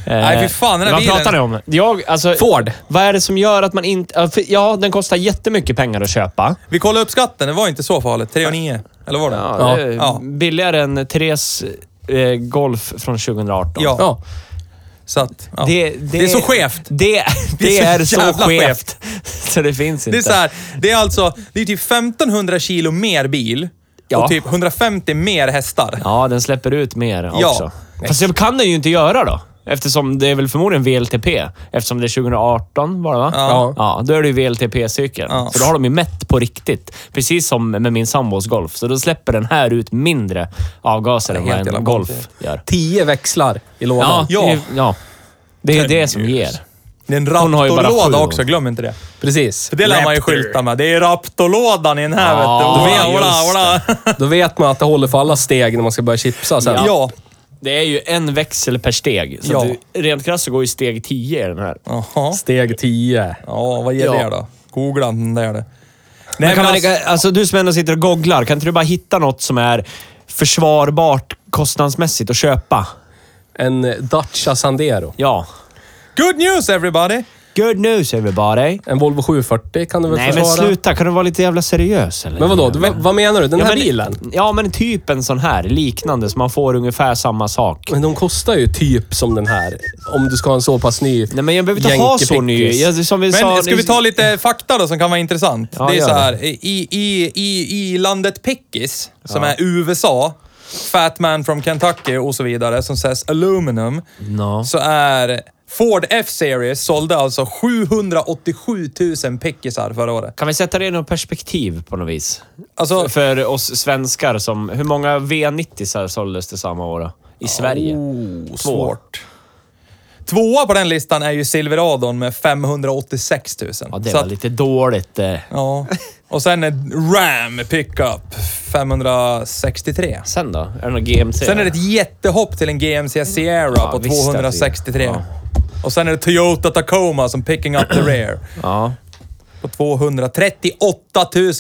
[SPEAKER 1] Nej, fy fan, den här
[SPEAKER 3] Eh, Vad
[SPEAKER 1] bilen.
[SPEAKER 3] pratar ni om? Jag, alltså,
[SPEAKER 2] Ford.
[SPEAKER 3] Vad är det som gör att man inte... ja, för- Ja, den kostar jättemycket pengar att köpa.
[SPEAKER 1] Vi kollade upp skatten, det var inte så farligt. 3 9. Eller var det?
[SPEAKER 3] Ja, det är
[SPEAKER 1] Ja.
[SPEAKER 3] Billigare än Therese eh, Golf från 2018.
[SPEAKER 1] Ja.
[SPEAKER 2] Ja.
[SPEAKER 1] Så att, ja.
[SPEAKER 3] Det,
[SPEAKER 1] det är så skevt.
[SPEAKER 3] Det, det är så
[SPEAKER 1] jävla
[SPEAKER 3] skevt. Så det finns inte.
[SPEAKER 1] Det är så här, det är alltså, det är typ 1500 kilo mer bil
[SPEAKER 3] Ja.
[SPEAKER 1] och typ 150 mer hästar.
[SPEAKER 3] Ja, den släpper ut mer
[SPEAKER 1] Ja.
[SPEAKER 3] också. Fast det kan den ju inte göra då. Eftersom det är väl förmodligen VLTP. Eftersom det är 2018 var det va?
[SPEAKER 1] Ja.
[SPEAKER 3] ja då är det ju VLTP-cykeln.
[SPEAKER 1] Ja.
[SPEAKER 3] Så då har de ju mätt på riktigt. Precis som med min sambos Golf. Så då släpper den här ut mindre avgaser än
[SPEAKER 1] helt
[SPEAKER 3] vad
[SPEAKER 1] jävla
[SPEAKER 3] en Golf
[SPEAKER 1] konstigt.
[SPEAKER 3] gör.
[SPEAKER 2] Tio växlar i
[SPEAKER 3] Ja,
[SPEAKER 2] lådan.
[SPEAKER 1] Ja.
[SPEAKER 3] Det, är, ja. det är det som
[SPEAKER 1] Herregud.
[SPEAKER 3] ger.
[SPEAKER 1] Det är en
[SPEAKER 3] har ju bara sju
[SPEAKER 1] raptorlåda
[SPEAKER 3] år.
[SPEAKER 1] också, glöm inte det.
[SPEAKER 2] Precis.
[SPEAKER 1] För det lär man ju skylta med. Det är raptorlådan i den här
[SPEAKER 3] Ja,
[SPEAKER 1] vet du. Ola,
[SPEAKER 3] just
[SPEAKER 1] ola, ola.
[SPEAKER 2] Då vet man att det håller för alla steg när man ska börja chipsa sen.
[SPEAKER 3] Ja.
[SPEAKER 1] Ja.
[SPEAKER 3] Det är ju en växel per steg. Så
[SPEAKER 1] Ja.
[SPEAKER 3] att du, rent krasst så går ju steg 10 i den här.
[SPEAKER 1] Jaha.
[SPEAKER 2] Steg tio.
[SPEAKER 1] Ja, vad ger
[SPEAKER 3] Ja.
[SPEAKER 1] det då? Googla den där. det.
[SPEAKER 3] Men
[SPEAKER 1] Nej,
[SPEAKER 3] kan
[SPEAKER 1] men
[SPEAKER 3] man
[SPEAKER 1] alltså,
[SPEAKER 3] lägga, alltså, du som ändå sitter och googlar, kan inte du bara hitta något som är försvarbart kostnadsmässigt att köpa?
[SPEAKER 2] En Dacia Sandero.
[SPEAKER 3] Ja.
[SPEAKER 1] good news everybody!
[SPEAKER 3] Good news everybody.
[SPEAKER 2] En Volvo 740 kan du väl
[SPEAKER 3] Nej men
[SPEAKER 2] försvara?
[SPEAKER 3] sluta, kan du vara lite jävla seriös eller?
[SPEAKER 2] Men vadå? Du, vad menar du? Den
[SPEAKER 3] Ja,
[SPEAKER 2] här
[SPEAKER 3] men-
[SPEAKER 2] bilen?
[SPEAKER 3] Ja, men typ en sån här liknande så man får ungefär samma sak.
[SPEAKER 2] Men de kostar ju typ som den här. Om du ska ha en så pass ny.
[SPEAKER 3] Nej, men jag behöver inte ha så ny.
[SPEAKER 2] jänkepickis.
[SPEAKER 3] Jag, som vi sa,
[SPEAKER 1] Men ska vi ta lite fakta då som kan vara intressant?
[SPEAKER 3] Ja,
[SPEAKER 1] det är
[SPEAKER 3] gör
[SPEAKER 1] så här, i, i, i, i landet Pickis, som är USA, Fat Man from Kentucky och så vidare, som sägs aluminum,
[SPEAKER 3] Ja.
[SPEAKER 1] så är Ford F-Series sålde alltså 787 000 pickisar förra året.
[SPEAKER 3] Kan vi sätta det i något perspektiv på något vis?
[SPEAKER 1] Alltså,
[SPEAKER 3] För oss svenskar som... Hur många V90 såldes det samma år då? I Sverige?
[SPEAKER 1] Oh, svårt. Tvåa på den listan är ju Silveradon med 586 000.
[SPEAKER 3] Ja, det
[SPEAKER 1] Så
[SPEAKER 3] var
[SPEAKER 1] att-
[SPEAKER 3] lite dåligt. eh.
[SPEAKER 1] Ja. Och sen är Ram pickup 563.
[SPEAKER 3] Sen då? Är det någon GMC?
[SPEAKER 1] Sen är det ett jättehopp till en GMC Sierra
[SPEAKER 3] Ja,
[SPEAKER 1] på
[SPEAKER 3] visst att det är.
[SPEAKER 1] 263.
[SPEAKER 3] Ja.
[SPEAKER 1] Och sen är det Toyota Tacoma som picking
[SPEAKER 3] *clears throat*
[SPEAKER 1] up the rear
[SPEAKER 3] Ja.
[SPEAKER 1] på 238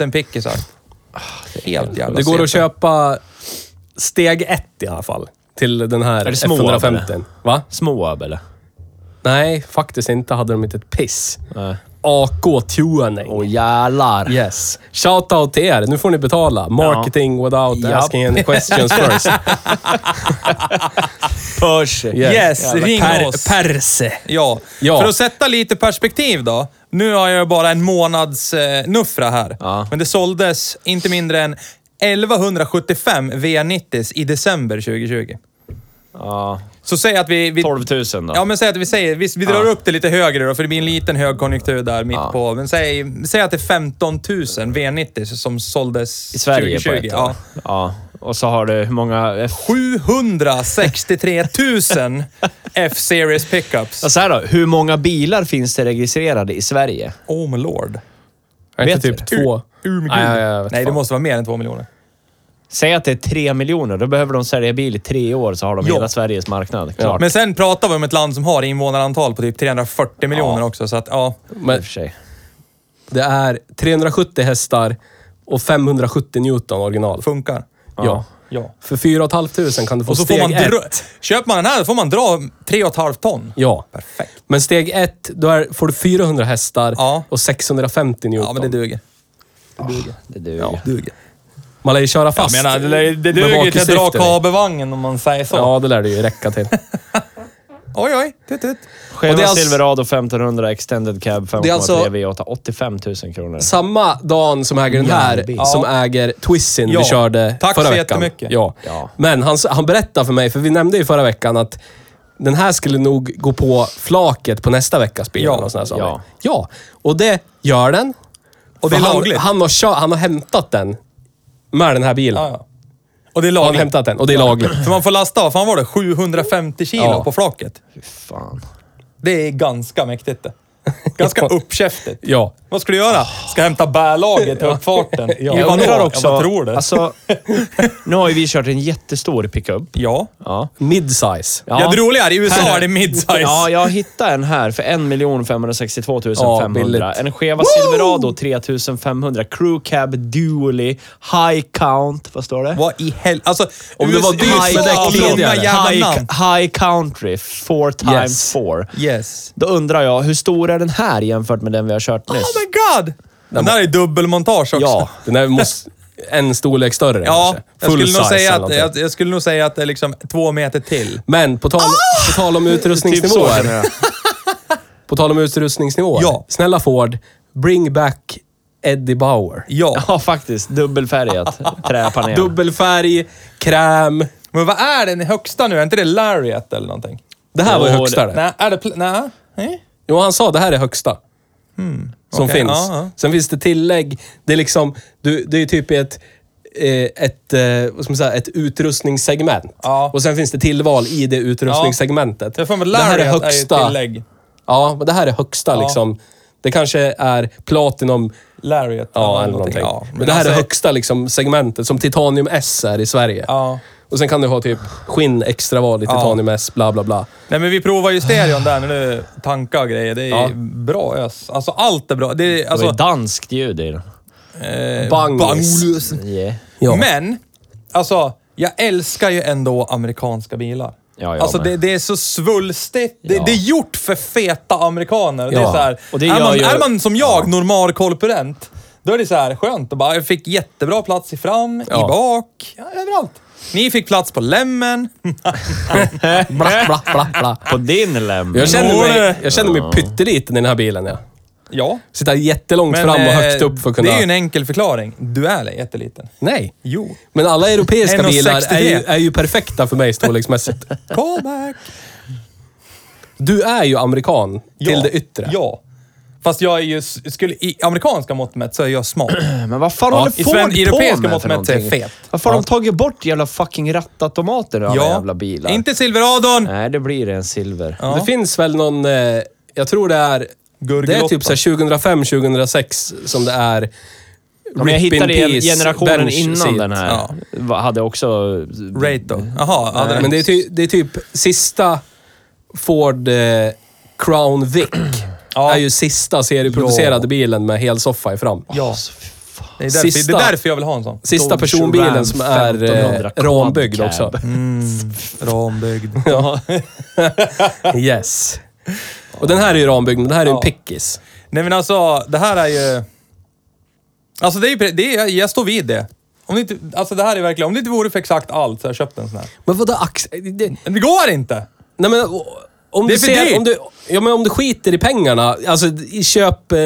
[SPEAKER 1] 000 pickisar.
[SPEAKER 3] Ah,
[SPEAKER 1] Helt jävla
[SPEAKER 2] Det går att
[SPEAKER 1] sent.
[SPEAKER 2] köpa steg ett i alla fall. Till den här
[SPEAKER 3] det små,
[SPEAKER 2] F150.
[SPEAKER 3] eller?
[SPEAKER 2] Va?
[SPEAKER 3] Små eller?
[SPEAKER 2] Nej, faktiskt inte. Hade de inte ett piss.
[SPEAKER 3] Nej.
[SPEAKER 2] AK Tuning.
[SPEAKER 3] Åh jävlar.
[SPEAKER 2] Yes. Shoutout till er. Nu får ni betala. Marketing without
[SPEAKER 3] Ja.
[SPEAKER 2] asking any questions first.
[SPEAKER 3] Percy.
[SPEAKER 1] *laughs* Yes, ring oss.
[SPEAKER 2] Perse.
[SPEAKER 1] Ja.
[SPEAKER 2] Ja.
[SPEAKER 1] för att sätta lite perspektiv då. Nu har jag bara en månads eh, nuffra här.
[SPEAKER 3] Ja.
[SPEAKER 1] Men det såldes inte mindre än 1175 V90s i december 2020.
[SPEAKER 3] Ja.
[SPEAKER 1] Så säg att vi... vi
[SPEAKER 3] 12 000 då.
[SPEAKER 1] Ja, men säg att vi säger... Vi, vi drar upp det lite högre då, för det blir en liten högkonjunktur där mitt
[SPEAKER 3] Ja.
[SPEAKER 1] på. Men säg, säg att det är 15 000 V90 som såldes
[SPEAKER 3] I Sverige
[SPEAKER 1] 2020.
[SPEAKER 3] på ett år.
[SPEAKER 1] ja.
[SPEAKER 3] ja. Och så har du hur många... eh, F-
[SPEAKER 1] 763 000 F-series pickups.
[SPEAKER 3] Ja, så här då. Hur många bilar finns det registrerade i Sverige?
[SPEAKER 1] oh my lord.
[SPEAKER 2] Är inte
[SPEAKER 3] Vet
[SPEAKER 2] typ två?
[SPEAKER 1] Ur
[SPEAKER 2] Nej, jag- jag vet
[SPEAKER 1] Nej, det
[SPEAKER 2] fan.
[SPEAKER 1] måste vara mer än två miljoner.
[SPEAKER 3] Säg att det är tre miljoner. Då behöver de sälja bil i tre år så har de
[SPEAKER 1] Ja.
[SPEAKER 3] hela Sveriges marknad. Klart.
[SPEAKER 1] Men sen pratar vi om ett land som har invånarantal på typ 340 miljoner också, så att ja.
[SPEAKER 3] I
[SPEAKER 2] Men
[SPEAKER 3] och för sig.
[SPEAKER 2] det är 370 hästar och 570 Newton original.
[SPEAKER 1] Funkar.
[SPEAKER 2] Ja.
[SPEAKER 1] Ja.
[SPEAKER 2] För 4 500 kan du få
[SPEAKER 1] Och så får
[SPEAKER 2] steg
[SPEAKER 1] man
[SPEAKER 2] ett.
[SPEAKER 1] dra, Köper man den här, då får man dra 3,5 ton.
[SPEAKER 2] Ja.
[SPEAKER 1] Perfekt.
[SPEAKER 2] Men steg ett, då är, får du 400 hästar
[SPEAKER 1] Ja.
[SPEAKER 2] och 650 newton.
[SPEAKER 1] Ja, men det duger.
[SPEAKER 3] Det duger. Ja.
[SPEAKER 1] duger.
[SPEAKER 2] Man lär ju köra
[SPEAKER 1] Jag
[SPEAKER 2] fast.
[SPEAKER 1] menar, det, lär- det
[SPEAKER 2] med
[SPEAKER 1] duger till att dra
[SPEAKER 2] vakuumstifter i.
[SPEAKER 1] kabelvagnen om man säger så.
[SPEAKER 2] Ja, det lär det ju räcka till.
[SPEAKER 1] Oj, oj. Tut, tut.
[SPEAKER 2] Och
[SPEAKER 3] Cheva
[SPEAKER 2] det är alltså-
[SPEAKER 3] Silverado 1500 Extended Cab 5,3
[SPEAKER 2] Det är alltså-
[SPEAKER 3] V8. 85 000 kronor.
[SPEAKER 2] Samma Dan som äger den här,
[SPEAKER 3] Jävlar.
[SPEAKER 2] som äger Twissin
[SPEAKER 1] Ja.
[SPEAKER 2] vi körde
[SPEAKER 1] Tack så
[SPEAKER 2] förra veckan.
[SPEAKER 1] jättemycket.
[SPEAKER 2] Ja.
[SPEAKER 3] Ja.
[SPEAKER 2] Men han, s- han berättade för mig, för vi nämnde ju förra veckan att den här skulle nog gå på flaket på nästa veckas bil.
[SPEAKER 1] Ja.
[SPEAKER 2] eller något sånt där, sa han.
[SPEAKER 3] Ja.
[SPEAKER 2] ja, och det gör den.
[SPEAKER 1] Och det är
[SPEAKER 2] För
[SPEAKER 1] lagligt.
[SPEAKER 2] Han, han, har, kö- han har hämtat den med den här bilen.
[SPEAKER 1] Ja, ja. Och det är
[SPEAKER 2] Han har
[SPEAKER 1] lagligt.
[SPEAKER 2] hämtat den och det är lagligt.
[SPEAKER 1] För man får lasta, vad fan var det? 750 kilo
[SPEAKER 2] Ja.
[SPEAKER 1] på flaket.
[SPEAKER 3] Fy fan.
[SPEAKER 1] Det är ganska mäktigt det. Ganska uppkäftigt.
[SPEAKER 2] Ja.
[SPEAKER 1] Vad ska du göra? Ska hämta bärlaget på uppfarten?
[SPEAKER 2] Ja.
[SPEAKER 1] I
[SPEAKER 3] Jag
[SPEAKER 1] vad då?
[SPEAKER 3] undrar
[SPEAKER 1] Ja,
[SPEAKER 3] också...
[SPEAKER 1] Vad tror du?
[SPEAKER 3] Alltså, nu har ju vi kört en jättestor pickup.
[SPEAKER 1] ja.
[SPEAKER 3] Ja.
[SPEAKER 2] Midsize.
[SPEAKER 1] Ja, det roliga är i USA är det midsize.
[SPEAKER 3] Ja, jag hittade en här för 1 562 500.
[SPEAKER 2] Ja, billigt.
[SPEAKER 3] en Cheva Silverado 3500. Crew Cab Dually High Count. Vad står det?
[SPEAKER 1] Vad i helvete? Alltså,
[SPEAKER 2] Om det var dyrt med
[SPEAKER 1] USA
[SPEAKER 2] däck
[SPEAKER 1] och
[SPEAKER 2] tidigare.
[SPEAKER 1] långa jävla
[SPEAKER 3] high,
[SPEAKER 1] namn.
[SPEAKER 3] high Country four times
[SPEAKER 2] Yes.
[SPEAKER 3] four.
[SPEAKER 1] Yes.
[SPEAKER 3] Då undrar jag, hur stor är den här jämfört med den vi har kört
[SPEAKER 1] Oh
[SPEAKER 3] nyss?
[SPEAKER 1] my god! Den där är dubbelmontage också.
[SPEAKER 2] Ja, den här måste... En storlek större
[SPEAKER 1] Ja,
[SPEAKER 2] kanske.
[SPEAKER 1] jag
[SPEAKER 2] Full
[SPEAKER 1] skulle, nog
[SPEAKER 2] size
[SPEAKER 1] säga
[SPEAKER 2] eller
[SPEAKER 1] att,
[SPEAKER 2] någonting.
[SPEAKER 1] jag, jag skulle nog säga att det är liksom två meter till.
[SPEAKER 2] Men på tal,
[SPEAKER 1] Ah!
[SPEAKER 2] på tal
[SPEAKER 1] Typ
[SPEAKER 2] om utrustningsnivåer. *laughs* På tal om utrustningsnivåer.
[SPEAKER 1] Ja.
[SPEAKER 2] Snälla Ford, bring back Eddie Bauer.
[SPEAKER 1] Ja.
[SPEAKER 3] Ja, faktiskt. *laughs* Dubbelfärgat träpanel.
[SPEAKER 2] Dubbelfärg, kräm.
[SPEAKER 1] Men vad är den högsta nu? Är inte det Lariat eller någonting?
[SPEAKER 2] Det här var ju
[SPEAKER 3] Jo,
[SPEAKER 2] högsta det.
[SPEAKER 1] Nej, är det... pl- Nej? Nej?
[SPEAKER 2] Jo, han sa det här är högsta. Som
[SPEAKER 1] Hmm, okej,
[SPEAKER 2] finns.
[SPEAKER 1] ja, ja.
[SPEAKER 2] Sen finns det tillägg. Det är liksom, du, det är ju typ i ett, eh, ett, eh, vad ska man säga, ett utrustningssegment.
[SPEAKER 1] Ja.
[SPEAKER 2] Och sen finns det tillval i det utrustningssegmentet.
[SPEAKER 1] Jag får med
[SPEAKER 2] det här är
[SPEAKER 1] Lariat är ju
[SPEAKER 2] högsta.
[SPEAKER 1] tillägg.
[SPEAKER 2] ja, men det här är högsta liksom. Det kanske är Platinum
[SPEAKER 1] Lariat
[SPEAKER 2] Ja, eller någonting.
[SPEAKER 1] Ja,
[SPEAKER 2] men det här är
[SPEAKER 1] alltså-
[SPEAKER 2] högsta liksom, segmentet, som Titanium S är i Sverige.
[SPEAKER 1] Ja.
[SPEAKER 2] Och sen kan du ha typ skinn extra val i Titanium S, bla bla bla.
[SPEAKER 1] Nej, men vi provar ju stereon där när du tankar och grejer. Det är
[SPEAKER 2] Ja.
[SPEAKER 1] bra ös. Alltså allt är bra. Det är,
[SPEAKER 3] Det var
[SPEAKER 1] alltså,
[SPEAKER 3] ju danskt ljud i den.
[SPEAKER 1] eh,
[SPEAKER 2] Bang.
[SPEAKER 1] banglös.
[SPEAKER 3] Yeah.
[SPEAKER 2] Ja.
[SPEAKER 1] Men, alltså, jag älskar ju ändå amerikanska bilar.
[SPEAKER 3] Ja, jag
[SPEAKER 1] alltså
[SPEAKER 3] med.
[SPEAKER 1] det, det är så svulstigt. Det,
[SPEAKER 3] Ja.
[SPEAKER 1] det är gjort för feta amerikaner. Det är
[SPEAKER 2] Ja.
[SPEAKER 1] så här,
[SPEAKER 3] Och det
[SPEAKER 1] är,
[SPEAKER 3] gör
[SPEAKER 1] man,
[SPEAKER 3] ju-
[SPEAKER 1] är man som jag, normal korpulent, då är det så här skönt. Och bara, jag fick jättebra plats i fram, i
[SPEAKER 2] Ja.
[SPEAKER 1] bak, ja, överallt. Ni fick plats på lämmen. *laughs*
[SPEAKER 2] Bla, bla, bla, bla.
[SPEAKER 3] På din lem.
[SPEAKER 2] Jag känner
[SPEAKER 1] Åre.
[SPEAKER 2] mig, jag känner mig pytteliten i den här bilen. Ja.
[SPEAKER 1] Ja.
[SPEAKER 2] Sitta jättelångt fram och
[SPEAKER 1] eh,
[SPEAKER 2] högt upp för att kunna...
[SPEAKER 1] Det är ju en enkel förklaring. Du är jätteliten.
[SPEAKER 2] Nej.
[SPEAKER 1] Jo.
[SPEAKER 2] Men alla europeiska
[SPEAKER 1] 1,63.
[SPEAKER 2] bilar är ju, är ju perfekta för mig storleksmässigt.
[SPEAKER 1] Callback!
[SPEAKER 2] Du är ju amerikan *laughs* till
[SPEAKER 1] Ja.
[SPEAKER 2] det yttre.
[SPEAKER 1] Ja. Fast jag är ju, skulle, i amerikanska mått mätt så är jag smal.
[SPEAKER 3] Men vad fan
[SPEAKER 1] Ja,
[SPEAKER 3] håller
[SPEAKER 1] i
[SPEAKER 3] Ford
[SPEAKER 1] sven-
[SPEAKER 3] på
[SPEAKER 1] europeiska
[SPEAKER 3] med
[SPEAKER 1] mått
[SPEAKER 3] för
[SPEAKER 1] mätt så är
[SPEAKER 3] någonting?
[SPEAKER 1] fet.
[SPEAKER 3] Varför har de tagit bort jävla fucking rattautomater i alla jävla bilar? Eh,
[SPEAKER 1] Inte silveradon!
[SPEAKER 3] Nej, det blir en silver.
[SPEAKER 1] Ja.
[SPEAKER 2] Det finns väl någon, eh, jag tror det är, det är
[SPEAKER 1] Gurgelotta.
[SPEAKER 2] typ 2005-2006 som det är
[SPEAKER 3] Ja, men jag
[SPEAKER 2] Rip in
[SPEAKER 3] hittade en-
[SPEAKER 2] Peace
[SPEAKER 3] generationen
[SPEAKER 2] bench
[SPEAKER 3] innan
[SPEAKER 2] seat.
[SPEAKER 3] den här.
[SPEAKER 1] Ja.
[SPEAKER 3] Va- Hade också...
[SPEAKER 1] Rate då?
[SPEAKER 3] eh,
[SPEAKER 1] Jaha. ja,
[SPEAKER 2] Men det är, ty, det är typ sista Ford eh, Crown Vic.
[SPEAKER 1] Ja.
[SPEAKER 2] är ju sista serieproducerade bilen med helsoffa i fram.
[SPEAKER 1] Ja. Det är, därför,
[SPEAKER 2] Sista-
[SPEAKER 1] det är därför jag vill ha en sån.
[SPEAKER 2] Sista
[SPEAKER 3] Dodge Ram
[SPEAKER 2] personbilen som är
[SPEAKER 3] 1500
[SPEAKER 2] eh, rambyggd
[SPEAKER 3] quad
[SPEAKER 2] också.
[SPEAKER 3] cab. Mm.
[SPEAKER 1] Rambyggd.
[SPEAKER 2] Ja. *laughs* yes. Och den här är ju rambyggd, men den här är ju en pickis.
[SPEAKER 1] Nej men alltså, det här är ju... Alltså det är ju... pre- Det är, jag står vid det. Om det inte, alltså det här är verkligen... Om det inte vore för exakt allt så hade jag köpt en sån här.
[SPEAKER 2] Men vadå ax... Det,
[SPEAKER 1] Men det går inte!
[SPEAKER 2] Nej men o- om
[SPEAKER 1] Det är
[SPEAKER 2] du
[SPEAKER 1] för
[SPEAKER 2] ser,
[SPEAKER 1] dyrt.
[SPEAKER 2] om du, ja, men om du skiter i pengarna, alltså i köp... Eh,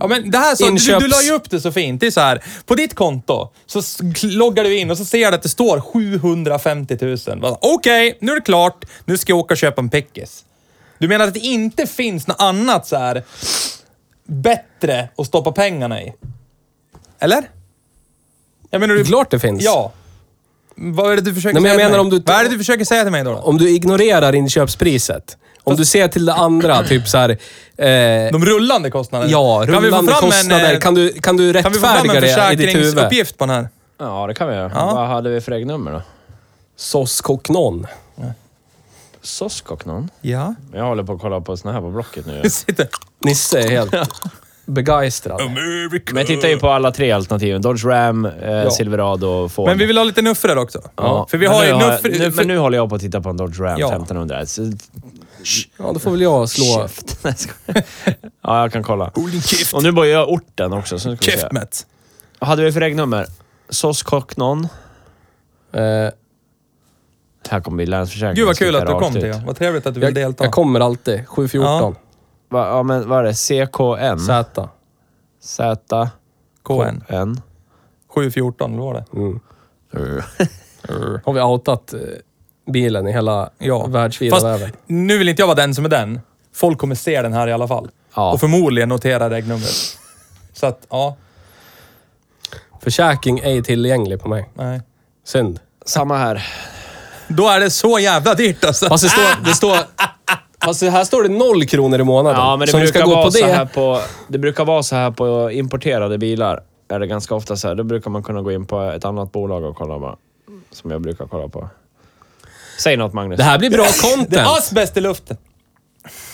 [SPEAKER 1] Ja, men det här så,
[SPEAKER 2] Inköps-
[SPEAKER 1] du, du la ju upp det så fint. Det är så här, på ditt konto så s- loggar du in och så ser du att det står 750 000. Bara, Okej, nu är det klart. Nu ska jag åka och köpa en pickis. Du menar att det inte finns något annat så här bättre att stoppa pengarna i? Eller? Jag menar,
[SPEAKER 2] det
[SPEAKER 1] du...
[SPEAKER 2] är klart det finns.
[SPEAKER 1] Ja. Vad är det du försöker
[SPEAKER 2] Nej, men
[SPEAKER 1] säga
[SPEAKER 2] jag
[SPEAKER 1] till
[SPEAKER 2] menar
[SPEAKER 1] mig?
[SPEAKER 2] om du-
[SPEAKER 1] Vad är det du försöker säga till mig då? då?
[SPEAKER 2] Om du ignorerar inköpspriset. Om du ser till det andra, typ så här, eh,
[SPEAKER 1] De rullande kostnaderna?
[SPEAKER 2] Ja,
[SPEAKER 1] Kan vi få
[SPEAKER 2] rullande
[SPEAKER 1] fram en,
[SPEAKER 2] kostnader.
[SPEAKER 1] eh,
[SPEAKER 2] kan, du, kan du
[SPEAKER 1] kan vi få fram
[SPEAKER 2] rättfärdiga
[SPEAKER 1] en
[SPEAKER 2] det i ditt huvud?
[SPEAKER 1] försäkringsuppgift på den här?
[SPEAKER 3] Ja, det kan vi göra.
[SPEAKER 1] Ja.
[SPEAKER 3] Vad hade vi för regnummer då?
[SPEAKER 2] Sos Koknon.
[SPEAKER 3] Soskoknon?
[SPEAKER 1] Ja. *laughs*
[SPEAKER 3] Jag håller på att kolla på såna här på Blocket nu.
[SPEAKER 1] Sitter.
[SPEAKER 2] Nisse är helt... begeistrad.
[SPEAKER 1] Um, America.
[SPEAKER 3] Men jag tittar ju på alla tre alternativen. Dodge Ram, eh, Silverado och Ford.
[SPEAKER 1] Men vi vill ha lite nuffror också.
[SPEAKER 3] Ja.
[SPEAKER 1] För vi
[SPEAKER 3] Men
[SPEAKER 1] har
[SPEAKER 3] nu
[SPEAKER 1] ju
[SPEAKER 3] har jag-
[SPEAKER 1] nuffror...
[SPEAKER 3] nu,
[SPEAKER 1] för-
[SPEAKER 3] Men nu håller jag på att titta på en Dodge Ram
[SPEAKER 1] Ja.
[SPEAKER 3] 1500. Så,
[SPEAKER 2] Ja, då får väl jag slå...
[SPEAKER 3] käft. *laughs* Nej, jag skojar. ja, jag kan kolla. Och nu börjar jag orten också. Så nu ska vi se.
[SPEAKER 1] Keftmet.
[SPEAKER 3] Vad hade vi för regnummer? SOS Cocknon.
[SPEAKER 2] Eh,
[SPEAKER 3] Här kommer vi Länsförsäkringen.
[SPEAKER 1] Gud vad kul
[SPEAKER 3] Sitter
[SPEAKER 1] att du
[SPEAKER 3] rakt
[SPEAKER 1] kom
[SPEAKER 3] ut.
[SPEAKER 1] Theo. Vad trevligt att du vill
[SPEAKER 2] jag,
[SPEAKER 1] delta.
[SPEAKER 2] jag kommer alltid. 7.14.
[SPEAKER 3] Va, ja, men vad är det? CKN?
[SPEAKER 2] Z.
[SPEAKER 3] Z...
[SPEAKER 1] KN.
[SPEAKER 3] N.
[SPEAKER 1] 714, eller vad var det?
[SPEAKER 3] Mm.
[SPEAKER 2] Har vi outat eh, bilen i hela
[SPEAKER 1] Mm. Ja.
[SPEAKER 2] världsvida
[SPEAKER 1] Fast
[SPEAKER 2] väven?
[SPEAKER 1] nu vill inte jag vara den som är den. Folk kommer se den här i alla fall.
[SPEAKER 3] Ja.
[SPEAKER 1] Och förmodligen notera regnumret. Så att, ja.
[SPEAKER 2] Försäkring ej tillgänglig på mig.
[SPEAKER 1] Nej.
[SPEAKER 2] Synd.
[SPEAKER 3] Samma här.
[SPEAKER 1] Då är det så jävla dyrt alltså.
[SPEAKER 2] Fast det står... Det står fast det här står det noll kronor i månaden.
[SPEAKER 3] Ja, men det
[SPEAKER 2] Så om vi
[SPEAKER 3] brukar,
[SPEAKER 2] ska gå
[SPEAKER 3] vara
[SPEAKER 2] på
[SPEAKER 3] så här
[SPEAKER 2] det...
[SPEAKER 3] på, det brukar vara så här på importerade bilar. Är det ganska ofta så här. Då brukar man kunna gå in på ett annat bolag och kolla bara. Som jag brukar kolla på. Säg något Magnus.
[SPEAKER 2] Det här blir bra
[SPEAKER 1] Det
[SPEAKER 2] content.
[SPEAKER 1] är asbest i luften.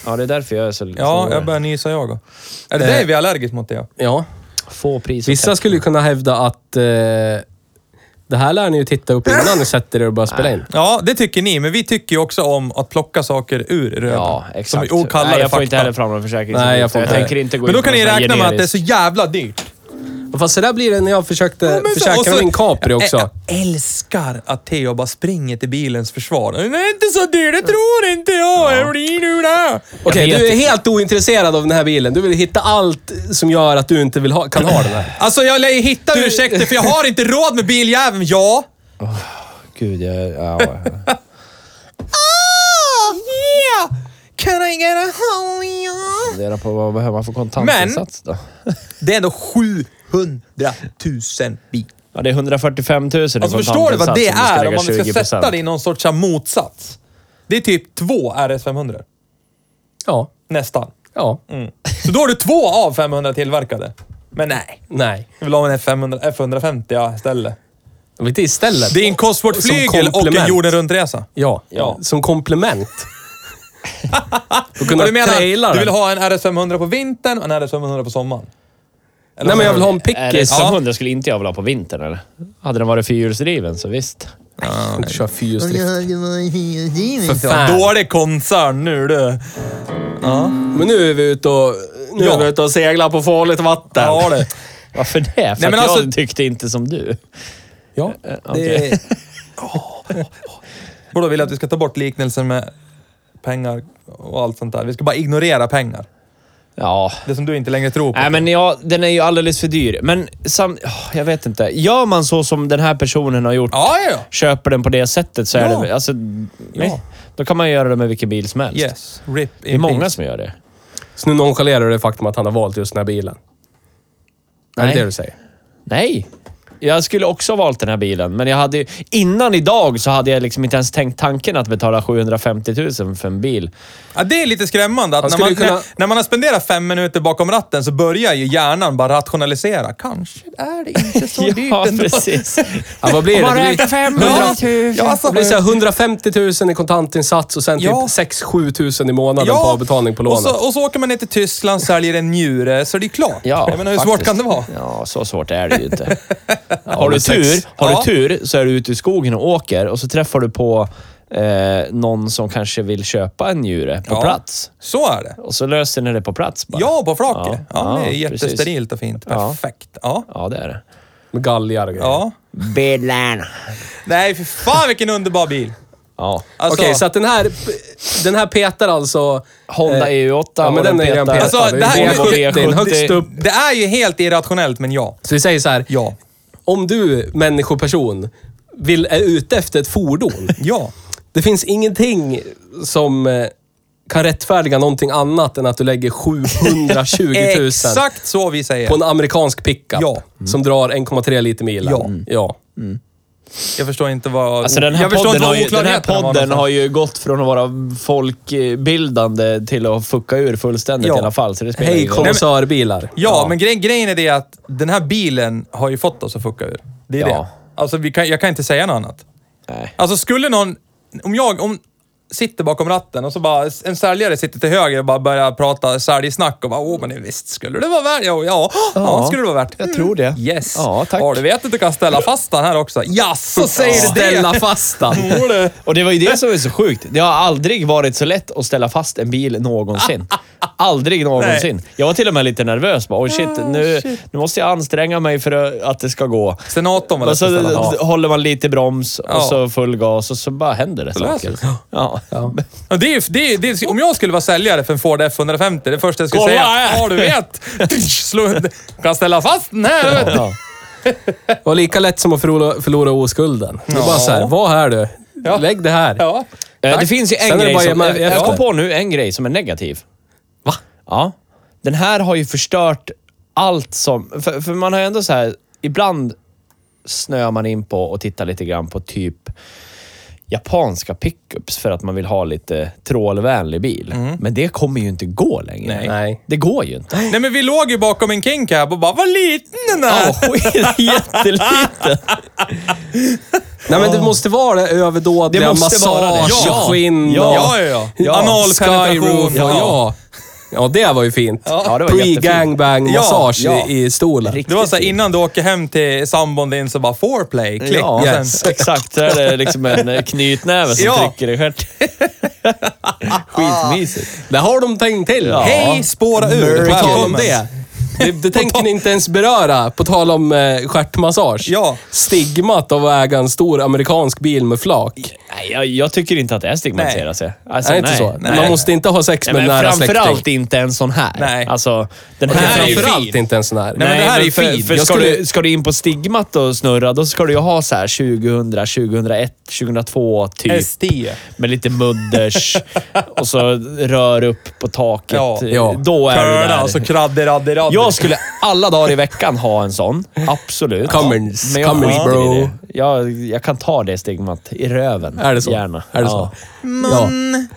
[SPEAKER 3] Ja, det är därför jag är så...
[SPEAKER 1] Ja,
[SPEAKER 3] så Eh.
[SPEAKER 1] jag börjar nysa jag också. Är det dig vi är allergisk mot Theo?
[SPEAKER 2] Ja.
[SPEAKER 3] Få pris.
[SPEAKER 2] Vissa skulle ju kunna hävda att... Eh, det här lär ni ju titta upp innan ni sätter er och börjar spela in.
[SPEAKER 1] Ja, det tycker ni, men vi tycker ju också om att plocka saker ur röven.
[SPEAKER 3] Ja, exakt.
[SPEAKER 1] Som vi kallar
[SPEAKER 3] Nej,
[SPEAKER 1] det
[SPEAKER 3] jag får
[SPEAKER 1] fakta.
[SPEAKER 3] inte heller fram någon försäkring.
[SPEAKER 2] Nej, jag får
[SPEAKER 3] jag
[SPEAKER 2] inte.
[SPEAKER 3] tänker inte gå
[SPEAKER 1] Men
[SPEAKER 3] in
[SPEAKER 1] då
[SPEAKER 3] på
[SPEAKER 1] kan ni
[SPEAKER 3] någon sån här
[SPEAKER 1] räkna med att det är så
[SPEAKER 3] generisk-
[SPEAKER 1] jävla dyrt.
[SPEAKER 2] Fast så där blir det när jag försökte
[SPEAKER 1] Ja, men så- och
[SPEAKER 2] försäkra
[SPEAKER 1] så- Eh,
[SPEAKER 2] min Capri också.
[SPEAKER 1] Jag älskar att Theo bara springer till bilens försvar. Det är inte så dyrt, det tror inte jag. Det blir nu det.
[SPEAKER 2] Okej,
[SPEAKER 3] Jag vet
[SPEAKER 2] du är helt ointresserad av den här bilen. Du vill hitta allt som gör att du inte vill ha, kan ha den här.
[SPEAKER 1] Alltså jag lär ju hitta ursäkter för jag har inte råd med biljäveln. Ja.
[SPEAKER 3] Gud, jag... Ja, ja.
[SPEAKER 1] Oh, yeah. Can I get a holy
[SPEAKER 3] Fundera på vad behöver man för kontantinsats då?
[SPEAKER 1] Det är ändå 700 000 bil.
[SPEAKER 3] Ja, det är 145 000 i
[SPEAKER 1] Alltså förstår du vad det är om man ska sätta det i någon sorts så här motsats? Det är typ två RS 500.
[SPEAKER 2] Ja.
[SPEAKER 1] Nästan. Mm.
[SPEAKER 2] Ja.
[SPEAKER 1] Så då har du två av 500 tillverkade. Men nej.
[SPEAKER 2] Nej.
[SPEAKER 1] Jag vill ha en F500, F150 ja, istället.
[SPEAKER 2] Jag vet inte, istället.
[SPEAKER 1] Det är en
[SPEAKER 2] Som
[SPEAKER 1] Cosworth-flygel och en
[SPEAKER 2] komplement.
[SPEAKER 1] jorden runt-resa.
[SPEAKER 2] Ja.
[SPEAKER 1] Ja. *laughs*
[SPEAKER 2] Som komplement. Och kunna
[SPEAKER 1] Och du menar,
[SPEAKER 2] traila
[SPEAKER 1] du vill
[SPEAKER 2] den.
[SPEAKER 1] ha en RS500 på vintern och en RS500 på sommaren? Eller
[SPEAKER 2] Nej,
[SPEAKER 1] vad
[SPEAKER 2] men jag vill ha
[SPEAKER 1] menar
[SPEAKER 2] en
[SPEAKER 3] Är det
[SPEAKER 2] pickis. Ja.
[SPEAKER 3] 500 skulle inte jag vilja ha på vintern eller? Hade den varit fyrhjulsdriven så visst.
[SPEAKER 2] Jag kör fyrhjulsdrift.
[SPEAKER 1] du?
[SPEAKER 2] för fan.
[SPEAKER 1] Dålig koncern nu du.
[SPEAKER 2] Men nu är vi ute och, nu
[SPEAKER 1] Ja.
[SPEAKER 2] är vi ute och seglar på farligt vatten.
[SPEAKER 1] Ja det.
[SPEAKER 3] Varför det? För
[SPEAKER 1] men
[SPEAKER 3] att
[SPEAKER 1] alltså-
[SPEAKER 3] jag tyckte inte som du.
[SPEAKER 2] Ja.
[SPEAKER 3] okej.
[SPEAKER 2] Eh, Det,
[SPEAKER 1] Borde vilja att vi ska ta bort liknelsen med pengar och allt sånt där. Vi ska bara ignorera pengar.
[SPEAKER 3] Ja.
[SPEAKER 1] Det som du inte längre tror på.
[SPEAKER 3] Nej, men ja, den är ju alldeles för dyr. Men sam... åh, jag vet inte. Gör man så som den här personen har gjort,
[SPEAKER 1] Ja, ja, ja.
[SPEAKER 3] köper den på det sättet så
[SPEAKER 1] Ja.
[SPEAKER 3] är det... Alltså, nej. Då kan man ju göra det med vilken bil som helst.
[SPEAKER 1] Yes. RIP
[SPEAKER 3] Det är många som gör det.
[SPEAKER 2] så nu nonchalerar du det faktum att han har valt just den här bilen. Nej. Är
[SPEAKER 3] Nej.
[SPEAKER 2] det det du säger?
[SPEAKER 3] Nej. Jag skulle också ha valt den här bilen, men jag hade ju- innan idag så hade jag liksom inte ens tänkt tanken att betala 750 000 för en bil.
[SPEAKER 1] Ja, det är lite skrämmande att
[SPEAKER 2] Han
[SPEAKER 1] när
[SPEAKER 2] skulle
[SPEAKER 1] man,
[SPEAKER 2] kunna-
[SPEAKER 1] när, när man har spenderat fem minuter bakom ratten så börjar ju hjärnan bara rationalisera. Kanske är det inte så dyrt
[SPEAKER 3] ja,
[SPEAKER 1] ändå.
[SPEAKER 3] precis.
[SPEAKER 2] Ja, vad blir det?
[SPEAKER 3] Om man
[SPEAKER 2] Det blir-
[SPEAKER 3] räknar 500
[SPEAKER 1] Ja, ja, alltså,
[SPEAKER 2] Det blir så här 150 000 i kontantinsats och sen
[SPEAKER 1] Ja.
[SPEAKER 2] typ 6-7 000 i månaden på avbetalning på
[SPEAKER 1] Och
[SPEAKER 2] lånet.
[SPEAKER 1] så, och så åker man ner till Tyskland säljer en njure, så det är klart.
[SPEAKER 3] Ja,
[SPEAKER 1] jag menar, hur svårt
[SPEAKER 3] faktiskt.
[SPEAKER 1] kan det vara?
[SPEAKER 3] Ja, så svårt är det ju *laughs* inte. har du
[SPEAKER 2] men sex-
[SPEAKER 3] tur, har
[SPEAKER 1] Ja.
[SPEAKER 3] du tur så är du ute i skogen och åker och så träffar du på eh, någon som kanske vill köpa en njure på
[SPEAKER 1] Ja.
[SPEAKER 3] plats.
[SPEAKER 1] Så är det.
[SPEAKER 3] Och så löser ni det på plats bara.
[SPEAKER 1] Ja, på flaket. Ja,
[SPEAKER 3] Ja,
[SPEAKER 1] det är
[SPEAKER 3] ja, precis.
[SPEAKER 1] jättesterilt och fint. Perfekt. Ja.
[SPEAKER 3] Ja, det är det.
[SPEAKER 2] Med galgar och grejer.
[SPEAKER 1] ja.
[SPEAKER 3] Bilen.
[SPEAKER 1] Nej, för fan vilken underbar bil.
[SPEAKER 3] Ja.
[SPEAKER 1] Alltså,
[SPEAKER 2] Okej, så att den här, den här petar alltså...
[SPEAKER 3] Honda
[SPEAKER 1] E-
[SPEAKER 2] eh,
[SPEAKER 3] EU8
[SPEAKER 2] Ja,
[SPEAKER 3] och
[SPEAKER 2] men den är ju redan
[SPEAKER 3] petar-
[SPEAKER 2] petad.
[SPEAKER 1] Alltså, det här-
[SPEAKER 2] Volvo
[SPEAKER 1] det-
[SPEAKER 2] V70,
[SPEAKER 3] det-
[SPEAKER 2] högst upp.
[SPEAKER 1] det är ju helt irrationellt, men ja.
[SPEAKER 2] Så vi säger så här.
[SPEAKER 1] Ja.
[SPEAKER 2] Om du, människoperson, vill, är ute efter
[SPEAKER 1] *laughs*
[SPEAKER 2] ett fordon.
[SPEAKER 1] Ja.
[SPEAKER 2] Det finns ingenting som eh, kan rättfärdiga någonting annat än att du
[SPEAKER 1] *laughs*
[SPEAKER 2] lägger 720 000
[SPEAKER 1] Exakt så vi säger.
[SPEAKER 2] på en amerikansk pickup
[SPEAKER 1] Ja. Mm.
[SPEAKER 2] som drar 1,3 liter milen.
[SPEAKER 1] Ja.
[SPEAKER 2] ja.
[SPEAKER 1] Jag förstår inte vad...
[SPEAKER 3] Alltså den här
[SPEAKER 1] jag förstår
[SPEAKER 3] podden,
[SPEAKER 1] inte
[SPEAKER 3] har
[SPEAKER 1] vad
[SPEAKER 3] ju, den här
[SPEAKER 1] oklarheterna var
[SPEAKER 3] podden
[SPEAKER 1] någonstans.
[SPEAKER 3] har ju gått från att vara folkbildande till att fucka ur fullständigt
[SPEAKER 1] Ja.
[SPEAKER 3] i alla fall. Så det spelar
[SPEAKER 2] Hej
[SPEAKER 3] ingen roll.
[SPEAKER 2] konnässörbilar.
[SPEAKER 1] Ja, men gre grejen är det att den här bilen har ju fått oss att fucka ur. Det är
[SPEAKER 3] Ja.
[SPEAKER 1] det. Alltså, vi kan, jag kan inte säga något annat.
[SPEAKER 3] Nej.
[SPEAKER 1] Alltså, skulle någon... Om jag... Om, sitter bakom ratten och så bara, en säljare sitter till höger och bara börjar prata säljsnack och bara, åh men visst skulle det vara värt? Ja, ja, ja, skulle det vara värt. Mm.
[SPEAKER 4] Jag tror det.
[SPEAKER 1] Yes.
[SPEAKER 4] Ja, tack.
[SPEAKER 1] Ja, du vet att du kan ställa fast den här också. Jaså, säger du det?
[SPEAKER 2] Ställa
[SPEAKER 1] *laughs*
[SPEAKER 2] fast den.
[SPEAKER 4] Och det var ju det som var så sjukt.
[SPEAKER 3] Det har aldrig varit så lätt att ställa fast en bil någonsin. Aldrig någonsin. Jag var till och med lite nervös. Bara, oh shit, nu, nu måste jag anstränga mig för att det ska gå.
[SPEAKER 1] Senatorn var
[SPEAKER 3] Och så
[SPEAKER 1] lätt att ställa fast.
[SPEAKER 3] håller man lite broms
[SPEAKER 1] Ja.
[SPEAKER 3] och så full gas och så bara händer det
[SPEAKER 1] löser
[SPEAKER 3] saker.
[SPEAKER 1] det sig.
[SPEAKER 3] Ja.
[SPEAKER 1] Ja, Det är, det är, det är, om jag skulle vara säljare för en Ford F150, det första jag skulle
[SPEAKER 3] Kolla
[SPEAKER 1] säga
[SPEAKER 3] här!
[SPEAKER 1] ja du vet.
[SPEAKER 3] *laughs*
[SPEAKER 1] Slå, kan ställa fast den här. Vet. du.
[SPEAKER 3] Ja.
[SPEAKER 2] Det var lika lätt som att förlora, förlora oskulden. Det var bara så här, var här du.
[SPEAKER 1] Ja.
[SPEAKER 2] Lägg det här.
[SPEAKER 1] Ja.
[SPEAKER 3] Eh, Det
[SPEAKER 2] Tack.
[SPEAKER 3] finns ju
[SPEAKER 2] Sen är
[SPEAKER 3] en
[SPEAKER 2] det
[SPEAKER 3] grej
[SPEAKER 2] bara
[SPEAKER 3] som...
[SPEAKER 2] ge
[SPEAKER 3] Jag,
[SPEAKER 2] mig efter.
[SPEAKER 3] jag kom på nu en grej som är negativ.
[SPEAKER 2] Va?
[SPEAKER 3] Ja. Den här har ju förstört allt som... För, för man har ju ändå så här... Ibland snöar man in på och tittar lite grann på typ japanska pickups för att man vill ha lite trålvänlig bil. Men det kommer ju inte gå längre.
[SPEAKER 1] Nej.
[SPEAKER 2] Mm. Nej.
[SPEAKER 3] Det går
[SPEAKER 2] *laughs*
[SPEAKER 3] ju inte.
[SPEAKER 1] Nej men vi låg ju bakom en King Cab och bara, vad liten den är.
[SPEAKER 3] Ja, *laughs* skit- Jätteliten.
[SPEAKER 2] Nej, men det måste vara det
[SPEAKER 3] Det
[SPEAKER 2] överdådiga.
[SPEAKER 3] måste vara det.
[SPEAKER 2] Massage
[SPEAKER 1] Ja.
[SPEAKER 2] och skinn
[SPEAKER 1] Ja,
[SPEAKER 2] och...
[SPEAKER 1] ja, ja.
[SPEAKER 2] ja.
[SPEAKER 1] Analpenetration.
[SPEAKER 2] Skyroof och ja. ja, det var ju fint.
[SPEAKER 1] Ja,
[SPEAKER 3] det var jättefint.
[SPEAKER 2] Pre-gangbang-massage
[SPEAKER 1] Ja, ja.
[SPEAKER 2] i, i stolen.
[SPEAKER 1] Det var så här, innan du åker hem till sambon din så bara foreplay, klick.
[SPEAKER 3] Ja,
[SPEAKER 1] och sen-
[SPEAKER 3] yes. exakt. Så är det liksom
[SPEAKER 2] *laughs*
[SPEAKER 3] en eh, knytnäve som
[SPEAKER 1] Ja.
[SPEAKER 3] trycker i stjärten. Skitmysigt.
[SPEAKER 2] Det har de tänkt till.
[SPEAKER 3] Ja.
[SPEAKER 1] Hej, spåra ur.
[SPEAKER 2] På tal om
[SPEAKER 1] Välkommen.
[SPEAKER 2] det. Det, det tänker ni inte ens beröra, på tal om eh, stjärtmassage.
[SPEAKER 1] Ja.
[SPEAKER 2] Stigmat av att äga en stor amerikansk bil med flak.
[SPEAKER 3] Nej, jag, jag tycker inte att det är stigmatiserat. sig. Alltså,
[SPEAKER 2] är det inte så?
[SPEAKER 3] nej.
[SPEAKER 2] Man måste inte ha sex
[SPEAKER 3] Nej,
[SPEAKER 2] med
[SPEAKER 3] men
[SPEAKER 2] en nära släkting.
[SPEAKER 3] framförallt inte en sån här.
[SPEAKER 1] Nej.
[SPEAKER 3] Alltså, den
[SPEAKER 2] Okej,
[SPEAKER 3] här är ju fin.
[SPEAKER 2] framförallt inte en sån här.
[SPEAKER 1] Nej, men det här är ju
[SPEAKER 3] för,
[SPEAKER 1] fin.
[SPEAKER 3] För
[SPEAKER 2] Jag
[SPEAKER 3] ska,
[SPEAKER 2] skulle-
[SPEAKER 3] du, ska du in på stigmat och snurra, då ska du ju ha så här 2000, 2001, 2002 typ.
[SPEAKER 1] ST.
[SPEAKER 3] Med lite
[SPEAKER 2] *laughs*
[SPEAKER 3] mudders och så rör upp på taket.
[SPEAKER 1] Ja,
[SPEAKER 2] ja.
[SPEAKER 3] Då är du
[SPEAKER 1] Curla
[SPEAKER 3] där.
[SPEAKER 1] och så kradde, radde, radde.
[SPEAKER 3] Jag skulle alla dagar i veckan ha en sån. Absolut.
[SPEAKER 2] Cummins,
[SPEAKER 3] Men jag
[SPEAKER 2] Cummins,
[SPEAKER 3] skiter i
[SPEAKER 2] bro.
[SPEAKER 3] det. Jag, jag kan ta det stigmat i röven.
[SPEAKER 2] *laughs* Är det så?
[SPEAKER 3] Gärna.
[SPEAKER 2] Är det så?
[SPEAKER 3] ja.
[SPEAKER 2] Ja.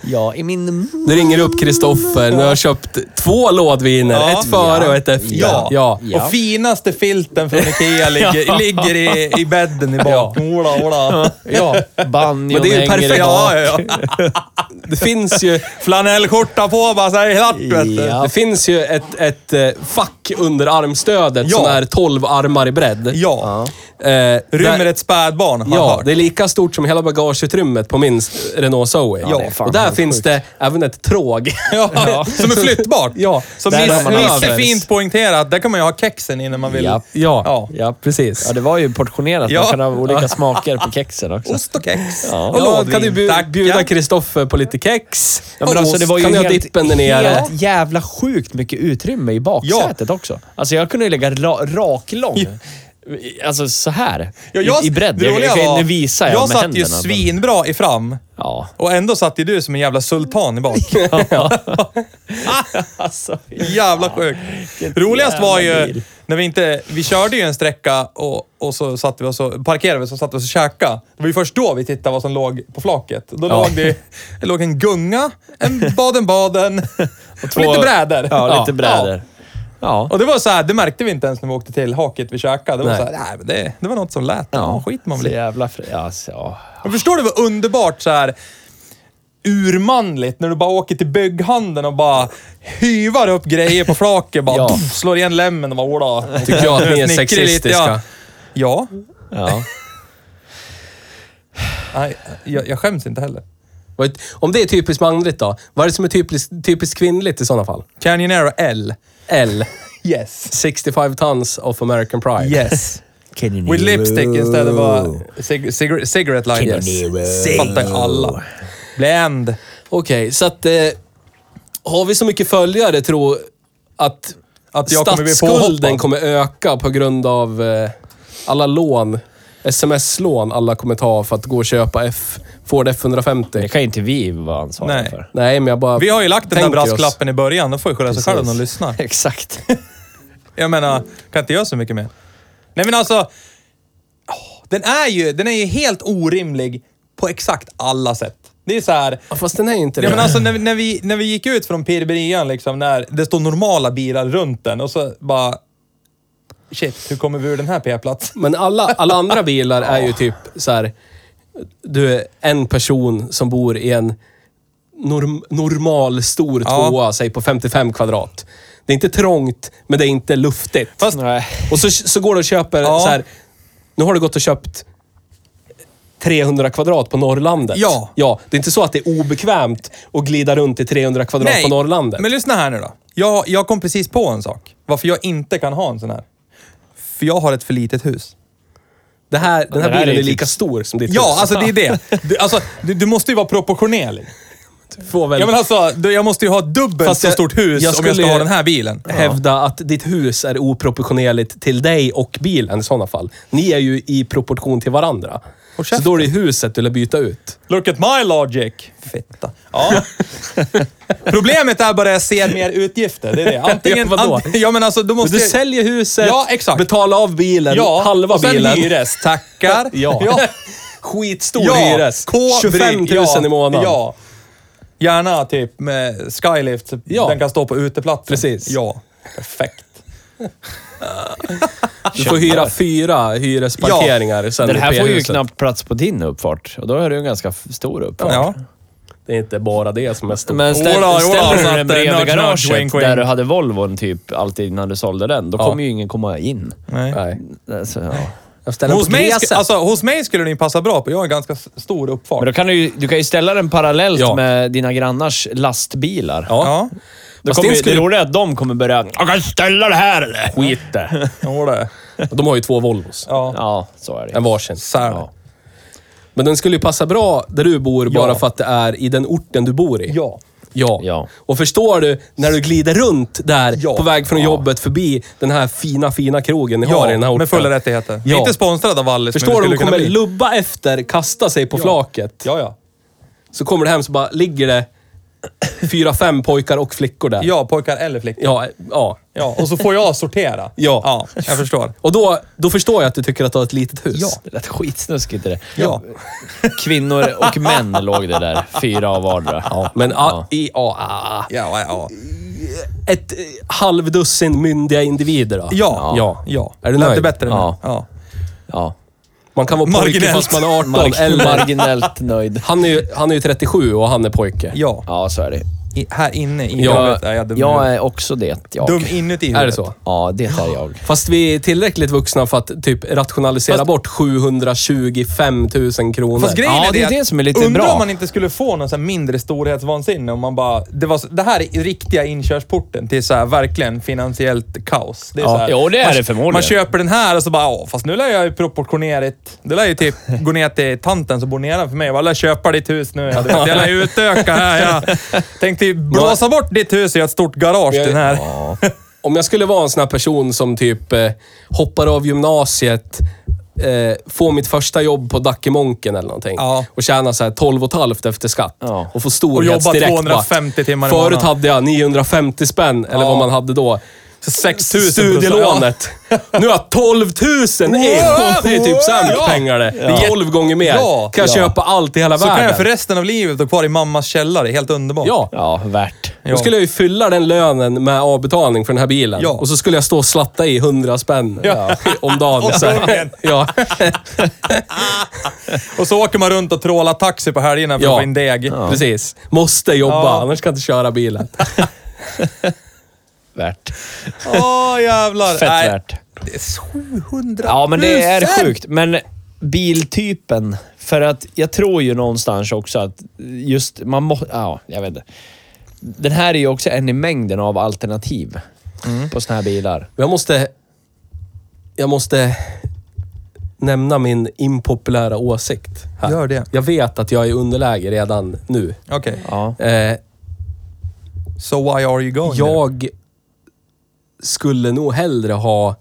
[SPEAKER 3] Ja, i min...
[SPEAKER 2] Nu ringer upp Kristoffer. Nu har jag köpt två lådviner.
[SPEAKER 1] Ja.
[SPEAKER 2] Ett före och ett efter.
[SPEAKER 1] Ja.
[SPEAKER 2] ja.
[SPEAKER 3] Ja.
[SPEAKER 1] Och finaste filten från
[SPEAKER 3] *laughs*
[SPEAKER 1] Ikea ligger, ligger i, i bädden i bak. Ola, ola.
[SPEAKER 3] Ja, banjon
[SPEAKER 2] Men det är ju
[SPEAKER 3] hänger
[SPEAKER 2] perfekt.
[SPEAKER 3] i bak.
[SPEAKER 1] Ja, ja, ja.
[SPEAKER 2] Det finns ju...
[SPEAKER 1] Flanellskjorta på bara så här klart vet du.
[SPEAKER 3] Ja.
[SPEAKER 2] Det finns ju ett, ett eh, fack under armstödet
[SPEAKER 1] Ja.
[SPEAKER 2] som är 12 armar i bredd.
[SPEAKER 1] Ja.
[SPEAKER 2] Eh,
[SPEAKER 1] Rymmer
[SPEAKER 2] där-
[SPEAKER 1] ett spädbarn, har jag
[SPEAKER 2] Ja,
[SPEAKER 1] hört.
[SPEAKER 2] det är lika stort som hela bagageutrymmet på min s- Renault Zoe.
[SPEAKER 1] Ja, det är fan
[SPEAKER 2] och där
[SPEAKER 3] helt
[SPEAKER 2] finns det även ett tråg.
[SPEAKER 1] Ja, *laughs* som är flyttbart.
[SPEAKER 2] Ja,
[SPEAKER 1] Som
[SPEAKER 3] där
[SPEAKER 1] Nisse
[SPEAKER 3] har man
[SPEAKER 1] Nisse
[SPEAKER 3] över.
[SPEAKER 1] fint poängterat, där kan man ju ha kexen i när man vill.
[SPEAKER 3] Japp.
[SPEAKER 2] Ja,
[SPEAKER 1] Ja.
[SPEAKER 2] precis.
[SPEAKER 3] Ja, det var ju portionerat.
[SPEAKER 1] Ja.
[SPEAKER 3] Man kan ha olika smaker på kexen också.
[SPEAKER 1] Ost och kex.
[SPEAKER 3] Ja.
[SPEAKER 2] Och ja, kan du bu-
[SPEAKER 1] Tackar.
[SPEAKER 2] bjuda Kristoffer på lite kex.
[SPEAKER 3] Ja, men alltså, det var ju
[SPEAKER 2] kan du ha
[SPEAKER 3] helt,
[SPEAKER 2] dippen där nere?
[SPEAKER 3] helt jävla sjukt mycket utrymme i baksätet också. Alltså jag kunde ju lägga ra, raklång. Alltså så här.
[SPEAKER 1] Ja,
[SPEAKER 3] I, I bredd.
[SPEAKER 1] det
[SPEAKER 3] Jag,
[SPEAKER 1] roliga
[SPEAKER 3] jag, kan-
[SPEAKER 1] var-
[SPEAKER 3] nu visar jag,
[SPEAKER 1] Jag
[SPEAKER 3] med
[SPEAKER 1] satt ju
[SPEAKER 3] händerna.
[SPEAKER 1] svinbra i fram.
[SPEAKER 3] Ja.
[SPEAKER 1] Och ändå satt ju du som en jävla sultan i bak.
[SPEAKER 3] Alltså,
[SPEAKER 1] *laughs* Jävla sjukt.
[SPEAKER 3] Vilket
[SPEAKER 1] Roligast
[SPEAKER 3] jävla
[SPEAKER 1] var ju
[SPEAKER 3] bil.
[SPEAKER 1] när vi inte... Vi körde ju en sträcka och, och så satt vi och så parkerade vi och så satt vi och så käkade. Det var ju först då vi tittade vad som låg på flaket. Då låg det, det låg en gunga, en
[SPEAKER 3] *laughs*
[SPEAKER 1] Baden-Baden och, lite brädor.
[SPEAKER 3] Ja, lite brädor. Ja.
[SPEAKER 1] Och det var så här, det märkte vi inte ens när vi åkte till haket vi käkade. Det var
[SPEAKER 2] Nej.
[SPEAKER 1] så här, nej, men det, det var något som lät. Ja, skit man väl
[SPEAKER 3] Så
[SPEAKER 1] i.
[SPEAKER 3] jävla fri. Alltså, ja.
[SPEAKER 1] Men förstår du vad underbart så här urmanligt när du bara åker till bygghandeln och bara hyvar upp grejer på flaket. Bara
[SPEAKER 3] Ja.
[SPEAKER 1] pff, slår igen lämmen och bara åla.
[SPEAKER 2] Tycker jag att ni
[SPEAKER 1] *laughs*
[SPEAKER 2] är
[SPEAKER 1] Snickrar lite, ja.
[SPEAKER 2] sexistiska.
[SPEAKER 1] Ja,
[SPEAKER 3] ja.
[SPEAKER 1] nej, jag, jag skäms inte heller.
[SPEAKER 2] Vad- Om det är typiskt manligt då? Vad är det som är typiskt, typiskt kvinnligt i sådana fall?
[SPEAKER 1] Canyon Aero L.
[SPEAKER 2] L.
[SPEAKER 1] Yes.
[SPEAKER 2] 65 tons of American pride.
[SPEAKER 1] Yes. With lipstick uh, istället för cig cig cigarette lighters. Fattar ju alla. Blend.
[SPEAKER 2] Okej, så att... Eh, har vi så mycket följare tro att,
[SPEAKER 1] Att jag kommer bli
[SPEAKER 2] statsskulden
[SPEAKER 1] påhoppad?
[SPEAKER 2] kommer öka på grund av eh, alla lån? Sms-lån alla kommer ta för att gå och köpa F, Ford
[SPEAKER 3] Det
[SPEAKER 2] F150.
[SPEAKER 3] kan ju inte vi vara ansvariga
[SPEAKER 1] Nej.
[SPEAKER 3] för.
[SPEAKER 2] Nej, men jag bara
[SPEAKER 1] Vi har ju lagt den där
[SPEAKER 2] tänker oss-
[SPEAKER 1] brasklappen i början. De får ju skylla sig själva om de lyssnar.
[SPEAKER 3] *laughs* Exakt.
[SPEAKER 1] Jag menar, kan inte göra så mycket mer. Nej men alltså, åh, den är ju, den är ju helt orimlig på exakt alla sätt. Det är så här,
[SPEAKER 2] Ja, fast den är ju inte det.
[SPEAKER 1] ja, men alltså, när, när, vi, när vi gick ut från Pirberian, liksom, när det står normala bilar runt den och så bara... Shit, hur kommer vi ur den här p-platsen?
[SPEAKER 2] Men alla,
[SPEAKER 1] *laughs*
[SPEAKER 2] alla andra bilar är ju typ så här. Du är en person som bor i en norm, normal stor
[SPEAKER 1] Ja.
[SPEAKER 2] tvåa, säg på 55 kvadrat. Det är inte trångt, men det är inte luftigt.
[SPEAKER 1] Fast-
[SPEAKER 3] Nej.
[SPEAKER 2] Och så, så går du och köper
[SPEAKER 1] Ja.
[SPEAKER 2] så här. Nu har du gått och köpt 300 kvadrat på Norrlandet.
[SPEAKER 1] Ja.
[SPEAKER 2] ja. Det är inte så att det är obekvämt att glida runt i 300 kvadrat på Norrlandet.
[SPEAKER 1] men lyssna här nu då. Jag, jag kom precis på en sak. Varför jag inte kan ha en sån här. För jag har ett för litet hus.
[SPEAKER 2] det här, den här,
[SPEAKER 3] Det här
[SPEAKER 2] bilen
[SPEAKER 3] är
[SPEAKER 2] är
[SPEAKER 3] ju typ-
[SPEAKER 2] lika
[SPEAKER 3] tips.
[SPEAKER 2] stor som ditt
[SPEAKER 1] Ja,
[SPEAKER 2] hus.
[SPEAKER 1] alltså det är det. Du, alltså, du, du måste ju vara proportionerlig.
[SPEAKER 2] Får väl
[SPEAKER 1] Ja, men alltså, du, jag måste ju ha dubbelt
[SPEAKER 2] Fast
[SPEAKER 1] så
[SPEAKER 2] jag-
[SPEAKER 1] stort hus
[SPEAKER 2] jag
[SPEAKER 1] om jag ska
[SPEAKER 2] skulle-
[SPEAKER 1] ha den här bilen.
[SPEAKER 2] hävda att ditt hus är oproportionerligt till dig och bilen i sådana fall. Ni är ju i proportion till varandra.
[SPEAKER 1] Håll
[SPEAKER 2] Så
[SPEAKER 1] käften.
[SPEAKER 2] då är det huset du vill byta ut.
[SPEAKER 1] Look at my logic. Fitta. Ja. *laughs* Problemet är bara att jag ser mer utgifter. Det är det. Antingen...
[SPEAKER 2] *laughs* Ja, vadå?
[SPEAKER 1] ant- ja men alltså, då
[SPEAKER 2] Men
[SPEAKER 1] måste
[SPEAKER 2] du
[SPEAKER 1] jag-
[SPEAKER 2] säljer huset,
[SPEAKER 1] Ja, exakt.
[SPEAKER 2] betalar av bilen,
[SPEAKER 1] ja,
[SPEAKER 2] halva
[SPEAKER 1] och sen
[SPEAKER 2] bilen.
[SPEAKER 1] hyres. Tackar.
[SPEAKER 2] *laughs* Ja.
[SPEAKER 1] ja.
[SPEAKER 2] Skitstor
[SPEAKER 1] Ja,
[SPEAKER 2] hyres.
[SPEAKER 1] K-
[SPEAKER 2] 25 000
[SPEAKER 1] ja,
[SPEAKER 2] i månaden.
[SPEAKER 1] Ja. Gärna typ med skylift. så
[SPEAKER 2] Ja.
[SPEAKER 1] Den kan stå på uteplatsen.
[SPEAKER 2] Precis.
[SPEAKER 1] Ja. Perfekt.
[SPEAKER 2] Du får hyra fyra hyresparkeringar sen
[SPEAKER 3] Den
[SPEAKER 2] i
[SPEAKER 3] här får ju
[SPEAKER 2] P-huset.
[SPEAKER 3] knappt plats på din uppfart. Och då är du en ganska f- stor uppfart.
[SPEAKER 1] Ja.
[SPEAKER 2] Det är inte bara det som är stort.
[SPEAKER 3] Men ställ,
[SPEAKER 1] Ola, Ola,
[SPEAKER 3] ställer
[SPEAKER 1] så
[SPEAKER 3] du
[SPEAKER 1] att,
[SPEAKER 3] den bredvid
[SPEAKER 1] nudge, nudge,
[SPEAKER 3] garaget
[SPEAKER 1] wink, wink.
[SPEAKER 3] där du hade Volvon typ alltid innan du sålde den, då kommer ju ingen komma in.
[SPEAKER 1] Nej.
[SPEAKER 2] Nej.
[SPEAKER 3] Alltså, ja.
[SPEAKER 2] Jag ställer
[SPEAKER 1] Hos
[SPEAKER 2] den på
[SPEAKER 1] mig, sk-
[SPEAKER 2] gräset.
[SPEAKER 1] alltså, hos mig skulle den ju passa bra på. Jag har en ganska s- stor uppfart.
[SPEAKER 3] Men då kan du, ju, du kan ju ställa den parallellt
[SPEAKER 2] Ja.
[SPEAKER 3] med dina grannars lastbilar.
[SPEAKER 1] Ja.
[SPEAKER 3] Då
[SPEAKER 2] Fast
[SPEAKER 3] kommer,
[SPEAKER 2] din
[SPEAKER 3] ju-
[SPEAKER 2] skulle-
[SPEAKER 3] Det roliga är att de kommer börja... Jag kan ställa det här eller?
[SPEAKER 2] Skit det.
[SPEAKER 1] Jo, det.
[SPEAKER 2] De har ju två Volvos.
[SPEAKER 1] alltså- Ja.
[SPEAKER 3] Ja, så är det.
[SPEAKER 2] En varsin.
[SPEAKER 1] Så här.
[SPEAKER 3] Ja.
[SPEAKER 2] Men den skulle ju passa bra där du bor bara
[SPEAKER 1] Ja.
[SPEAKER 2] för att det är i den orten du bor i.
[SPEAKER 1] Ja.
[SPEAKER 2] Ja.
[SPEAKER 3] Ja.
[SPEAKER 2] Och förstår du, när du glider runt där
[SPEAKER 1] Ja.
[SPEAKER 2] på väg från jobbet förbi den här fina, fina krogen ni har i den här
[SPEAKER 1] Ja,
[SPEAKER 2] orten.
[SPEAKER 1] med fulla rättigheter.
[SPEAKER 2] Ja.
[SPEAKER 1] Inte sponsrad av Wallis,
[SPEAKER 2] Förstår
[SPEAKER 1] men
[SPEAKER 2] du, de
[SPEAKER 1] det skulle
[SPEAKER 2] kommer
[SPEAKER 1] kunna bli.
[SPEAKER 2] lubba efter, kasta sig på flaket.
[SPEAKER 1] Ja, ja.
[SPEAKER 2] Så kommer du hem så bara ligger det fyra, fem pojkar och flickor där.
[SPEAKER 1] Ja, pojkar eller flickor.
[SPEAKER 2] Ja, ja.
[SPEAKER 1] Ja, och så får jag sortera.
[SPEAKER 2] Ja.
[SPEAKER 1] ja jag förstår.
[SPEAKER 2] Och då, då förstår jag att du tycker att du har ett litet hus.
[SPEAKER 1] Ja.
[SPEAKER 3] Det lät skitsnuskigt det där.
[SPEAKER 1] Ja.
[SPEAKER 3] Kvinnor och män låg det där. Fyra av vardera. Ja,
[SPEAKER 2] Men
[SPEAKER 3] ja.
[SPEAKER 2] a, i, ah, a, a, a.
[SPEAKER 1] Ja, ja.
[SPEAKER 2] ett eh, halvdussin myndiga individer då?
[SPEAKER 1] Ja.
[SPEAKER 2] ja.
[SPEAKER 1] ja.
[SPEAKER 2] Är du
[SPEAKER 1] Lät
[SPEAKER 2] nöjd?
[SPEAKER 1] det bättre nu?
[SPEAKER 3] Ja.
[SPEAKER 1] ja.
[SPEAKER 3] ja.
[SPEAKER 2] Man kan vara pojke
[SPEAKER 1] Marginellt.
[SPEAKER 2] fast man är 18
[SPEAKER 3] Marg-
[SPEAKER 2] eller...
[SPEAKER 3] marginellt nöjd.
[SPEAKER 2] Han är, ju, han är ju 37 och han är pojke.
[SPEAKER 1] Ja.
[SPEAKER 3] Ja, så är det.
[SPEAKER 1] I, här inne i
[SPEAKER 2] Ja,
[SPEAKER 1] huvudet är jag dum, i
[SPEAKER 3] Jag
[SPEAKER 1] huvudet.
[SPEAKER 3] är också det, jag.
[SPEAKER 1] dum inuti huvudet.
[SPEAKER 2] Är det så?
[SPEAKER 3] Ja, det är jag.
[SPEAKER 2] Fast vi är tillräckligt vuxna för att typ rationalisera
[SPEAKER 1] Fast-
[SPEAKER 2] bort 725 000 kronor.
[SPEAKER 1] Fast grejen
[SPEAKER 3] Ja,
[SPEAKER 1] är
[SPEAKER 3] det
[SPEAKER 1] det,
[SPEAKER 3] är
[SPEAKER 1] att-
[SPEAKER 3] det som är lite
[SPEAKER 1] undrar
[SPEAKER 3] bra.
[SPEAKER 1] om man inte skulle få någon sån här mindre storhetsvansinne om man bara... Det, var, så- det här är riktiga inkörsporten till så här verkligen finansiellt kaos. Det är
[SPEAKER 3] Ja.
[SPEAKER 1] så här,
[SPEAKER 3] Jo, det är
[SPEAKER 1] man,
[SPEAKER 3] det förmodligen.
[SPEAKER 1] Man köper den här och så bara, ja, fast nu lär jag ju proportionerligt... Det lär ju
[SPEAKER 3] *laughs*
[SPEAKER 1] typ gå ner till tanten som bor nedanför mig och bara, "Lär köpa ditt hus nu. Jag, vet, jag lär utöka här.
[SPEAKER 3] *laughs*
[SPEAKER 1] Jag tänkte ju blåsa bort ditt hus och göra ett stort garage till den här.
[SPEAKER 2] Om jag skulle vara en sån här person som typ eh, hoppar av gymnasiet, eh, får mitt första jobb på Dackemonken eller någonting
[SPEAKER 1] Ja.
[SPEAKER 2] och tjänar så här 12 och ett halvt efter skatt
[SPEAKER 3] Ja.
[SPEAKER 2] och får storhetsdirekt.
[SPEAKER 1] Och jobbar
[SPEAKER 2] bara.
[SPEAKER 1] 250 timmar i
[SPEAKER 2] Förut
[SPEAKER 1] månaden.
[SPEAKER 2] hade jag 950 spänn, eller
[SPEAKER 1] Ja.
[SPEAKER 2] vad man hade då.
[SPEAKER 1] 6 000
[SPEAKER 2] Studielånet. Nu har jag 12 000 in!
[SPEAKER 1] Wow!
[SPEAKER 2] Det är typ sämst
[SPEAKER 1] Ja.
[SPEAKER 2] pengar det. Det är 12 gånger mer.
[SPEAKER 1] Ja.
[SPEAKER 2] Kan jag
[SPEAKER 1] Ja.
[SPEAKER 2] köpa allt i hela
[SPEAKER 1] Så
[SPEAKER 2] världen.
[SPEAKER 1] kan jag för resten av livet vara kvar i mammas källare. Helt underbart.
[SPEAKER 2] Ja.
[SPEAKER 3] Ja, värt.
[SPEAKER 2] Då skulle jag ju fylla den lönen med avbetalning för den här bilen.
[SPEAKER 1] Ja.
[SPEAKER 2] Och så skulle jag stå och slatta i 100 spänn
[SPEAKER 1] Ja.
[SPEAKER 2] *laughs* om dagen.
[SPEAKER 1] Om
[SPEAKER 2] så här.
[SPEAKER 1] dagen.
[SPEAKER 2] *laughs* ja.
[SPEAKER 1] Och så åker man runt och trålar taxi på helgerna för
[SPEAKER 2] Ja.
[SPEAKER 1] att få in deg.
[SPEAKER 2] Precis. Måste jobba,
[SPEAKER 1] Ja.
[SPEAKER 2] annars kan jag inte köra bilen.
[SPEAKER 3] Värt.
[SPEAKER 1] Åh jävlar.
[SPEAKER 3] Fett
[SPEAKER 1] Nej,
[SPEAKER 3] värt.
[SPEAKER 1] det är 700
[SPEAKER 3] Ja, men det är
[SPEAKER 1] 000.
[SPEAKER 3] sjukt. Men biltypen. För att jag tror ju någonstans också att just man måste... Ja, jag vet inte. Den här är ju också en i mängden av alternativ på såna här bilar.
[SPEAKER 2] Men Jag måste... Jag måste nämna min impopulära åsikt. Här.
[SPEAKER 1] Gör det.
[SPEAKER 2] Jag vet att jag är i underläge redan nu.
[SPEAKER 1] Okej,
[SPEAKER 3] Ja.
[SPEAKER 2] Eh,
[SPEAKER 1] so why are you going?
[SPEAKER 2] jag skulle nog hellre ha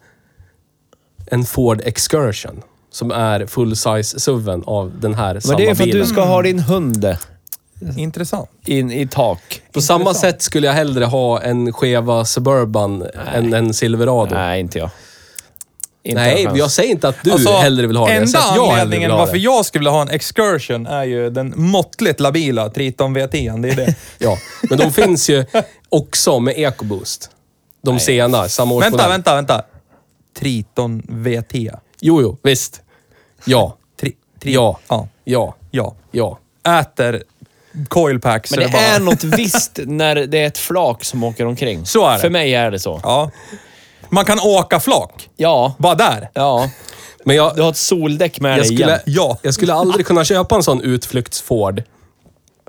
[SPEAKER 2] en Ford Excursion. Som är full-size suven av den här samma
[SPEAKER 3] Men det är för att
[SPEAKER 2] bilen.
[SPEAKER 3] du ska ha din hund
[SPEAKER 1] there? Intressant.
[SPEAKER 3] in i tak.
[SPEAKER 2] På samma sätt skulle jag hellre ha en skeva Suburban än en Silverado. Nej,
[SPEAKER 3] Nej, inte jag. Inte en
[SPEAKER 2] jag,
[SPEAKER 3] chans.
[SPEAKER 2] säger inte att du hellre vill ha det. Jag
[SPEAKER 1] Alltså, Enda
[SPEAKER 2] säger att jag hellre
[SPEAKER 1] anledningen
[SPEAKER 2] vill ha
[SPEAKER 1] varför
[SPEAKER 2] det.
[SPEAKER 1] jag skulle vilja ha en excursion är ju den måttligt labila Triton V10. Det är
[SPEAKER 2] *laughs*
[SPEAKER 1] det.
[SPEAKER 2] Ja, men de finns ju också med EcoBoost. De senare, samma årsmodell.
[SPEAKER 1] vänta, vänta, vänta. Triton V10.
[SPEAKER 2] Jo, jo, visst. Ja,
[SPEAKER 1] Tri, tri,
[SPEAKER 2] ja,
[SPEAKER 1] ja.
[SPEAKER 2] ja,
[SPEAKER 1] Ja.
[SPEAKER 2] ja.
[SPEAKER 1] Äter coilpacks.
[SPEAKER 3] Men
[SPEAKER 1] så
[SPEAKER 3] det
[SPEAKER 1] bara-
[SPEAKER 3] är något visst när det är ett flak som åker omkring.
[SPEAKER 1] Så är det.
[SPEAKER 3] För mig är det så.
[SPEAKER 1] Ja. Man kan åka flak.
[SPEAKER 3] Ja.
[SPEAKER 1] Bara där.
[SPEAKER 3] Ja.
[SPEAKER 2] Men jag,
[SPEAKER 3] Du har ett soldäck med
[SPEAKER 2] jag,
[SPEAKER 3] dig igen.
[SPEAKER 2] skulle,
[SPEAKER 1] Ja.
[SPEAKER 2] jag skulle aldrig kunna köpa en sån utflykts-Ford.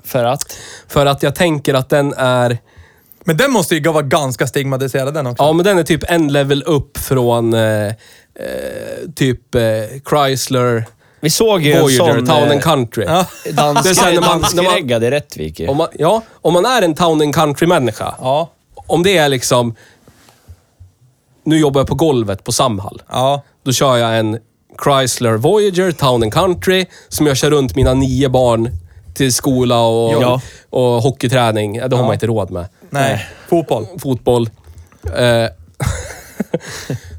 [SPEAKER 3] För att?
[SPEAKER 2] För att jag tänker att den är...
[SPEAKER 1] Men den måste ju vara ganska stigmatiserad den också.
[SPEAKER 2] Ja, men den är typ en level upp från eh, eh, typ eh, Chrysler,
[SPEAKER 3] Vi såg ju en
[SPEAKER 2] Voyager,
[SPEAKER 3] sån... eh,
[SPEAKER 2] Town and Country.
[SPEAKER 1] Ja.
[SPEAKER 2] Det är så här när man- när man-
[SPEAKER 3] Danskreggad i Rättvik ju.
[SPEAKER 2] Om man, ja, om man är en Town and Country-människa.
[SPEAKER 1] Ja.
[SPEAKER 2] Om det är liksom... Nu jobbar jag på golvet på Samhall.
[SPEAKER 1] Ja.
[SPEAKER 2] Då kör jag en Chrysler Voyager Town and Country som jag kör runt mina nio barn till skola och,
[SPEAKER 3] Ja.
[SPEAKER 2] och hockeyträning. Ja, Det har man inte råd med.
[SPEAKER 1] Nej.
[SPEAKER 3] Eh,
[SPEAKER 1] Fotboll.
[SPEAKER 2] Fotboll. Eh, *laughs*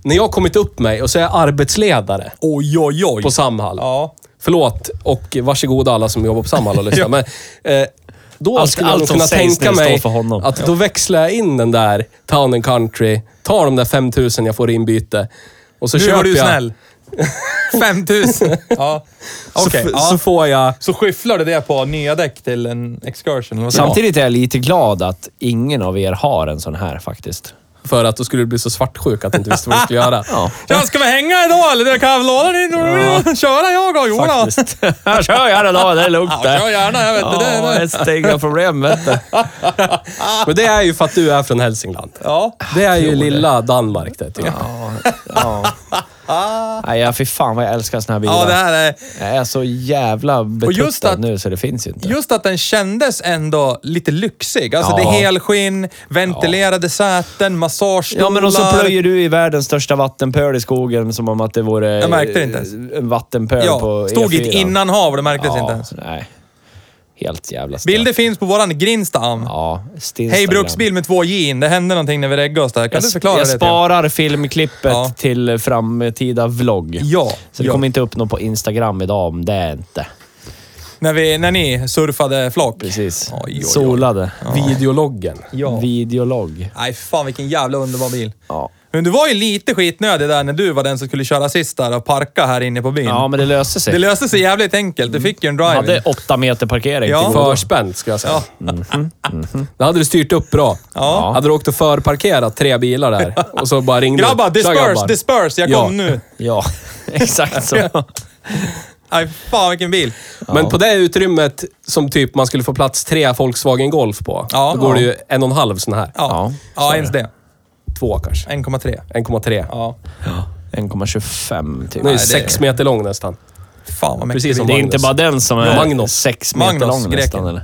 [SPEAKER 2] när jag har kommit upp mig och så är jag arbetsledare
[SPEAKER 1] Oj, oj, oj.
[SPEAKER 2] på Samhall.
[SPEAKER 1] Ja.
[SPEAKER 2] Förlåt och varsågoda alla som jobbar på Samhall
[SPEAKER 1] *laughs*
[SPEAKER 2] och lyssnar. Men, eh, då
[SPEAKER 3] Allt-
[SPEAKER 2] skulle jag
[SPEAKER 3] allt
[SPEAKER 2] nog
[SPEAKER 3] som
[SPEAKER 2] kunna
[SPEAKER 3] sägs
[SPEAKER 2] tänka
[SPEAKER 3] nu står
[SPEAKER 2] mig
[SPEAKER 3] för honom.
[SPEAKER 2] att då växlar jag in den där Town and Country, tar de där 5000 jag får i inbyte och så
[SPEAKER 1] Nu
[SPEAKER 2] köper
[SPEAKER 1] var du
[SPEAKER 2] jag...
[SPEAKER 1] *laughs* snäll. 5000. Ja.
[SPEAKER 2] Så,
[SPEAKER 1] Okej.
[SPEAKER 2] f- så
[SPEAKER 1] ja.
[SPEAKER 2] får jag...
[SPEAKER 1] Så skyfflar du det på nya däck till en excursion? eller vad säger
[SPEAKER 3] Samtidigt är jag lite glad att ingen av er har en sån här faktiskt.
[SPEAKER 2] För att då skulle du bli så svartsjuk att du inte visste vad du skulle göra.
[SPEAKER 1] du? *laughs* Ja, ska vi hänga idag eller? Kan jag låna din? Köra jag och Jonas?
[SPEAKER 3] *laughs* Faktiskt. Här kör jag den av, det är *laughs* lugnt
[SPEAKER 1] Ja, kör gärna. Jag vet inte. det,
[SPEAKER 3] Ja,
[SPEAKER 1] det.
[SPEAKER 3] det är inga problem vet *laughs* du.
[SPEAKER 2] Men det är ju för att du är från Hälsingland.
[SPEAKER 1] Ja.
[SPEAKER 2] Det är ju lilla Danmark det, tycker jag.
[SPEAKER 3] Nej, ja, fy fan vad jag älskar såna här bilar.
[SPEAKER 1] ja, det här är...
[SPEAKER 3] Jag är så jävla betuttad
[SPEAKER 1] just att-
[SPEAKER 3] nu så det finns inte.
[SPEAKER 1] Just att den kändes ändå lite lyxig. Alltså
[SPEAKER 3] Ja.
[SPEAKER 1] det är helskinn, ventilerade säten, massagestolar.
[SPEAKER 3] Ja, men och så plöjer du i världens största vattenpöl i skogen som om att det vore eh,
[SPEAKER 1] Jag märkte det inte ens.
[SPEAKER 3] en vattenpöl
[SPEAKER 1] Ja,
[SPEAKER 3] på
[SPEAKER 1] stod i
[SPEAKER 3] E4.
[SPEAKER 1] ett innanhav, det märktes
[SPEAKER 3] ja,
[SPEAKER 1] inte ens.
[SPEAKER 3] Nej. Helt jävla stört.
[SPEAKER 1] Bilder finns på våran Grinstam.
[SPEAKER 3] Ja, Instagram.
[SPEAKER 1] Hej Bruksbil med två gin. Det hände någonting när vi reggade oss där. Kan
[SPEAKER 3] Jag,
[SPEAKER 1] du förklara
[SPEAKER 3] jag
[SPEAKER 1] det? till-
[SPEAKER 3] sparar filmklippet
[SPEAKER 1] Ja.
[SPEAKER 3] till framtida vlogg.
[SPEAKER 1] Ja,
[SPEAKER 3] Så det
[SPEAKER 1] ja.
[SPEAKER 3] kommer inte upp något på Instagram idag om det är inte.
[SPEAKER 1] När, vi, när ni surfade flak.
[SPEAKER 3] Precis.
[SPEAKER 1] Oj, oj, oj.
[SPEAKER 3] Solade.
[SPEAKER 2] Videologgen.
[SPEAKER 1] Ja.
[SPEAKER 3] Videolog.
[SPEAKER 1] Nej, fan vilken jävla underbar bil.
[SPEAKER 3] Ja.
[SPEAKER 1] Men du var ju lite skitnödig där när du var den som skulle köra sist där och parka här inne på byn.
[SPEAKER 3] Ja, men det löser sig.
[SPEAKER 1] Det löste sig jävligt enkelt. Du fick ju en drive.
[SPEAKER 3] hade Mm. åtta meter parkering
[SPEAKER 1] Ja.
[SPEAKER 3] till godo.
[SPEAKER 2] Förspänt, ska jag säga.
[SPEAKER 1] Ja.
[SPEAKER 2] Då hade du styrt upp bra.
[SPEAKER 1] Ja.
[SPEAKER 2] Hade du åkt och förparkerat tre bilar där och så bara ringde du.
[SPEAKER 1] Grabbar,
[SPEAKER 2] Tja,
[SPEAKER 1] disperse,
[SPEAKER 2] grabbar.
[SPEAKER 1] disperse. Jag
[SPEAKER 2] Ja.
[SPEAKER 1] kom
[SPEAKER 3] *laughs*
[SPEAKER 1] nu.
[SPEAKER 3] Ja, exakt så.
[SPEAKER 1] Nej, fan vilken bil.
[SPEAKER 2] Men på det utrymmet som typ man skulle få plats tre Volkswagen Golf på,
[SPEAKER 1] Ja.
[SPEAKER 2] då går det
[SPEAKER 1] Ja.
[SPEAKER 2] ju en och en halv sån här.
[SPEAKER 1] Ja,
[SPEAKER 3] Ja,
[SPEAKER 1] ja ens det.
[SPEAKER 2] Två kanske.
[SPEAKER 1] 1,3.
[SPEAKER 2] 1,3.
[SPEAKER 1] Ja.
[SPEAKER 3] 1,25 typ.
[SPEAKER 2] Den är ju
[SPEAKER 1] det är-
[SPEAKER 2] sex meter lång nästan.
[SPEAKER 1] Fan vad mäktig
[SPEAKER 2] Precis
[SPEAKER 1] bil.
[SPEAKER 2] som
[SPEAKER 3] det är inte
[SPEAKER 2] Magnus.
[SPEAKER 3] bara den som är
[SPEAKER 2] Magnus.
[SPEAKER 3] sex meter
[SPEAKER 1] Magnus,
[SPEAKER 3] lång
[SPEAKER 1] greken.
[SPEAKER 3] nästan. Eller?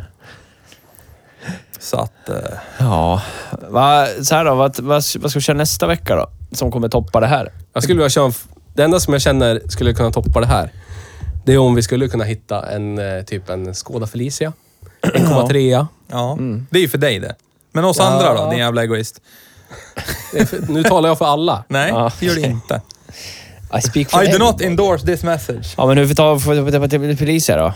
[SPEAKER 1] Så att... eh,
[SPEAKER 3] Ja. Va, så här då, vad, vad, vad ska vi köra nästa vecka då? Som kommer toppa det här.
[SPEAKER 2] Jag skulle vilja köra en... f- Det enda som jag känner skulle kunna toppa det här, det är om vi skulle kunna hitta en eh, typ en Skoda Felicia. 1,3.
[SPEAKER 1] ja.
[SPEAKER 3] Mm.
[SPEAKER 1] Det är ju för dig det. Men oss andra då, din jävla egoist?
[SPEAKER 2] Det är för- Nu talar jag för alla.
[SPEAKER 1] Nej,
[SPEAKER 3] Ja.
[SPEAKER 1] det gör du inte.
[SPEAKER 3] *laughs* I speak for
[SPEAKER 1] I do
[SPEAKER 3] everybody.
[SPEAKER 1] not endorse this message.
[SPEAKER 3] Ja, men hur får vi ta på poliser då? Hur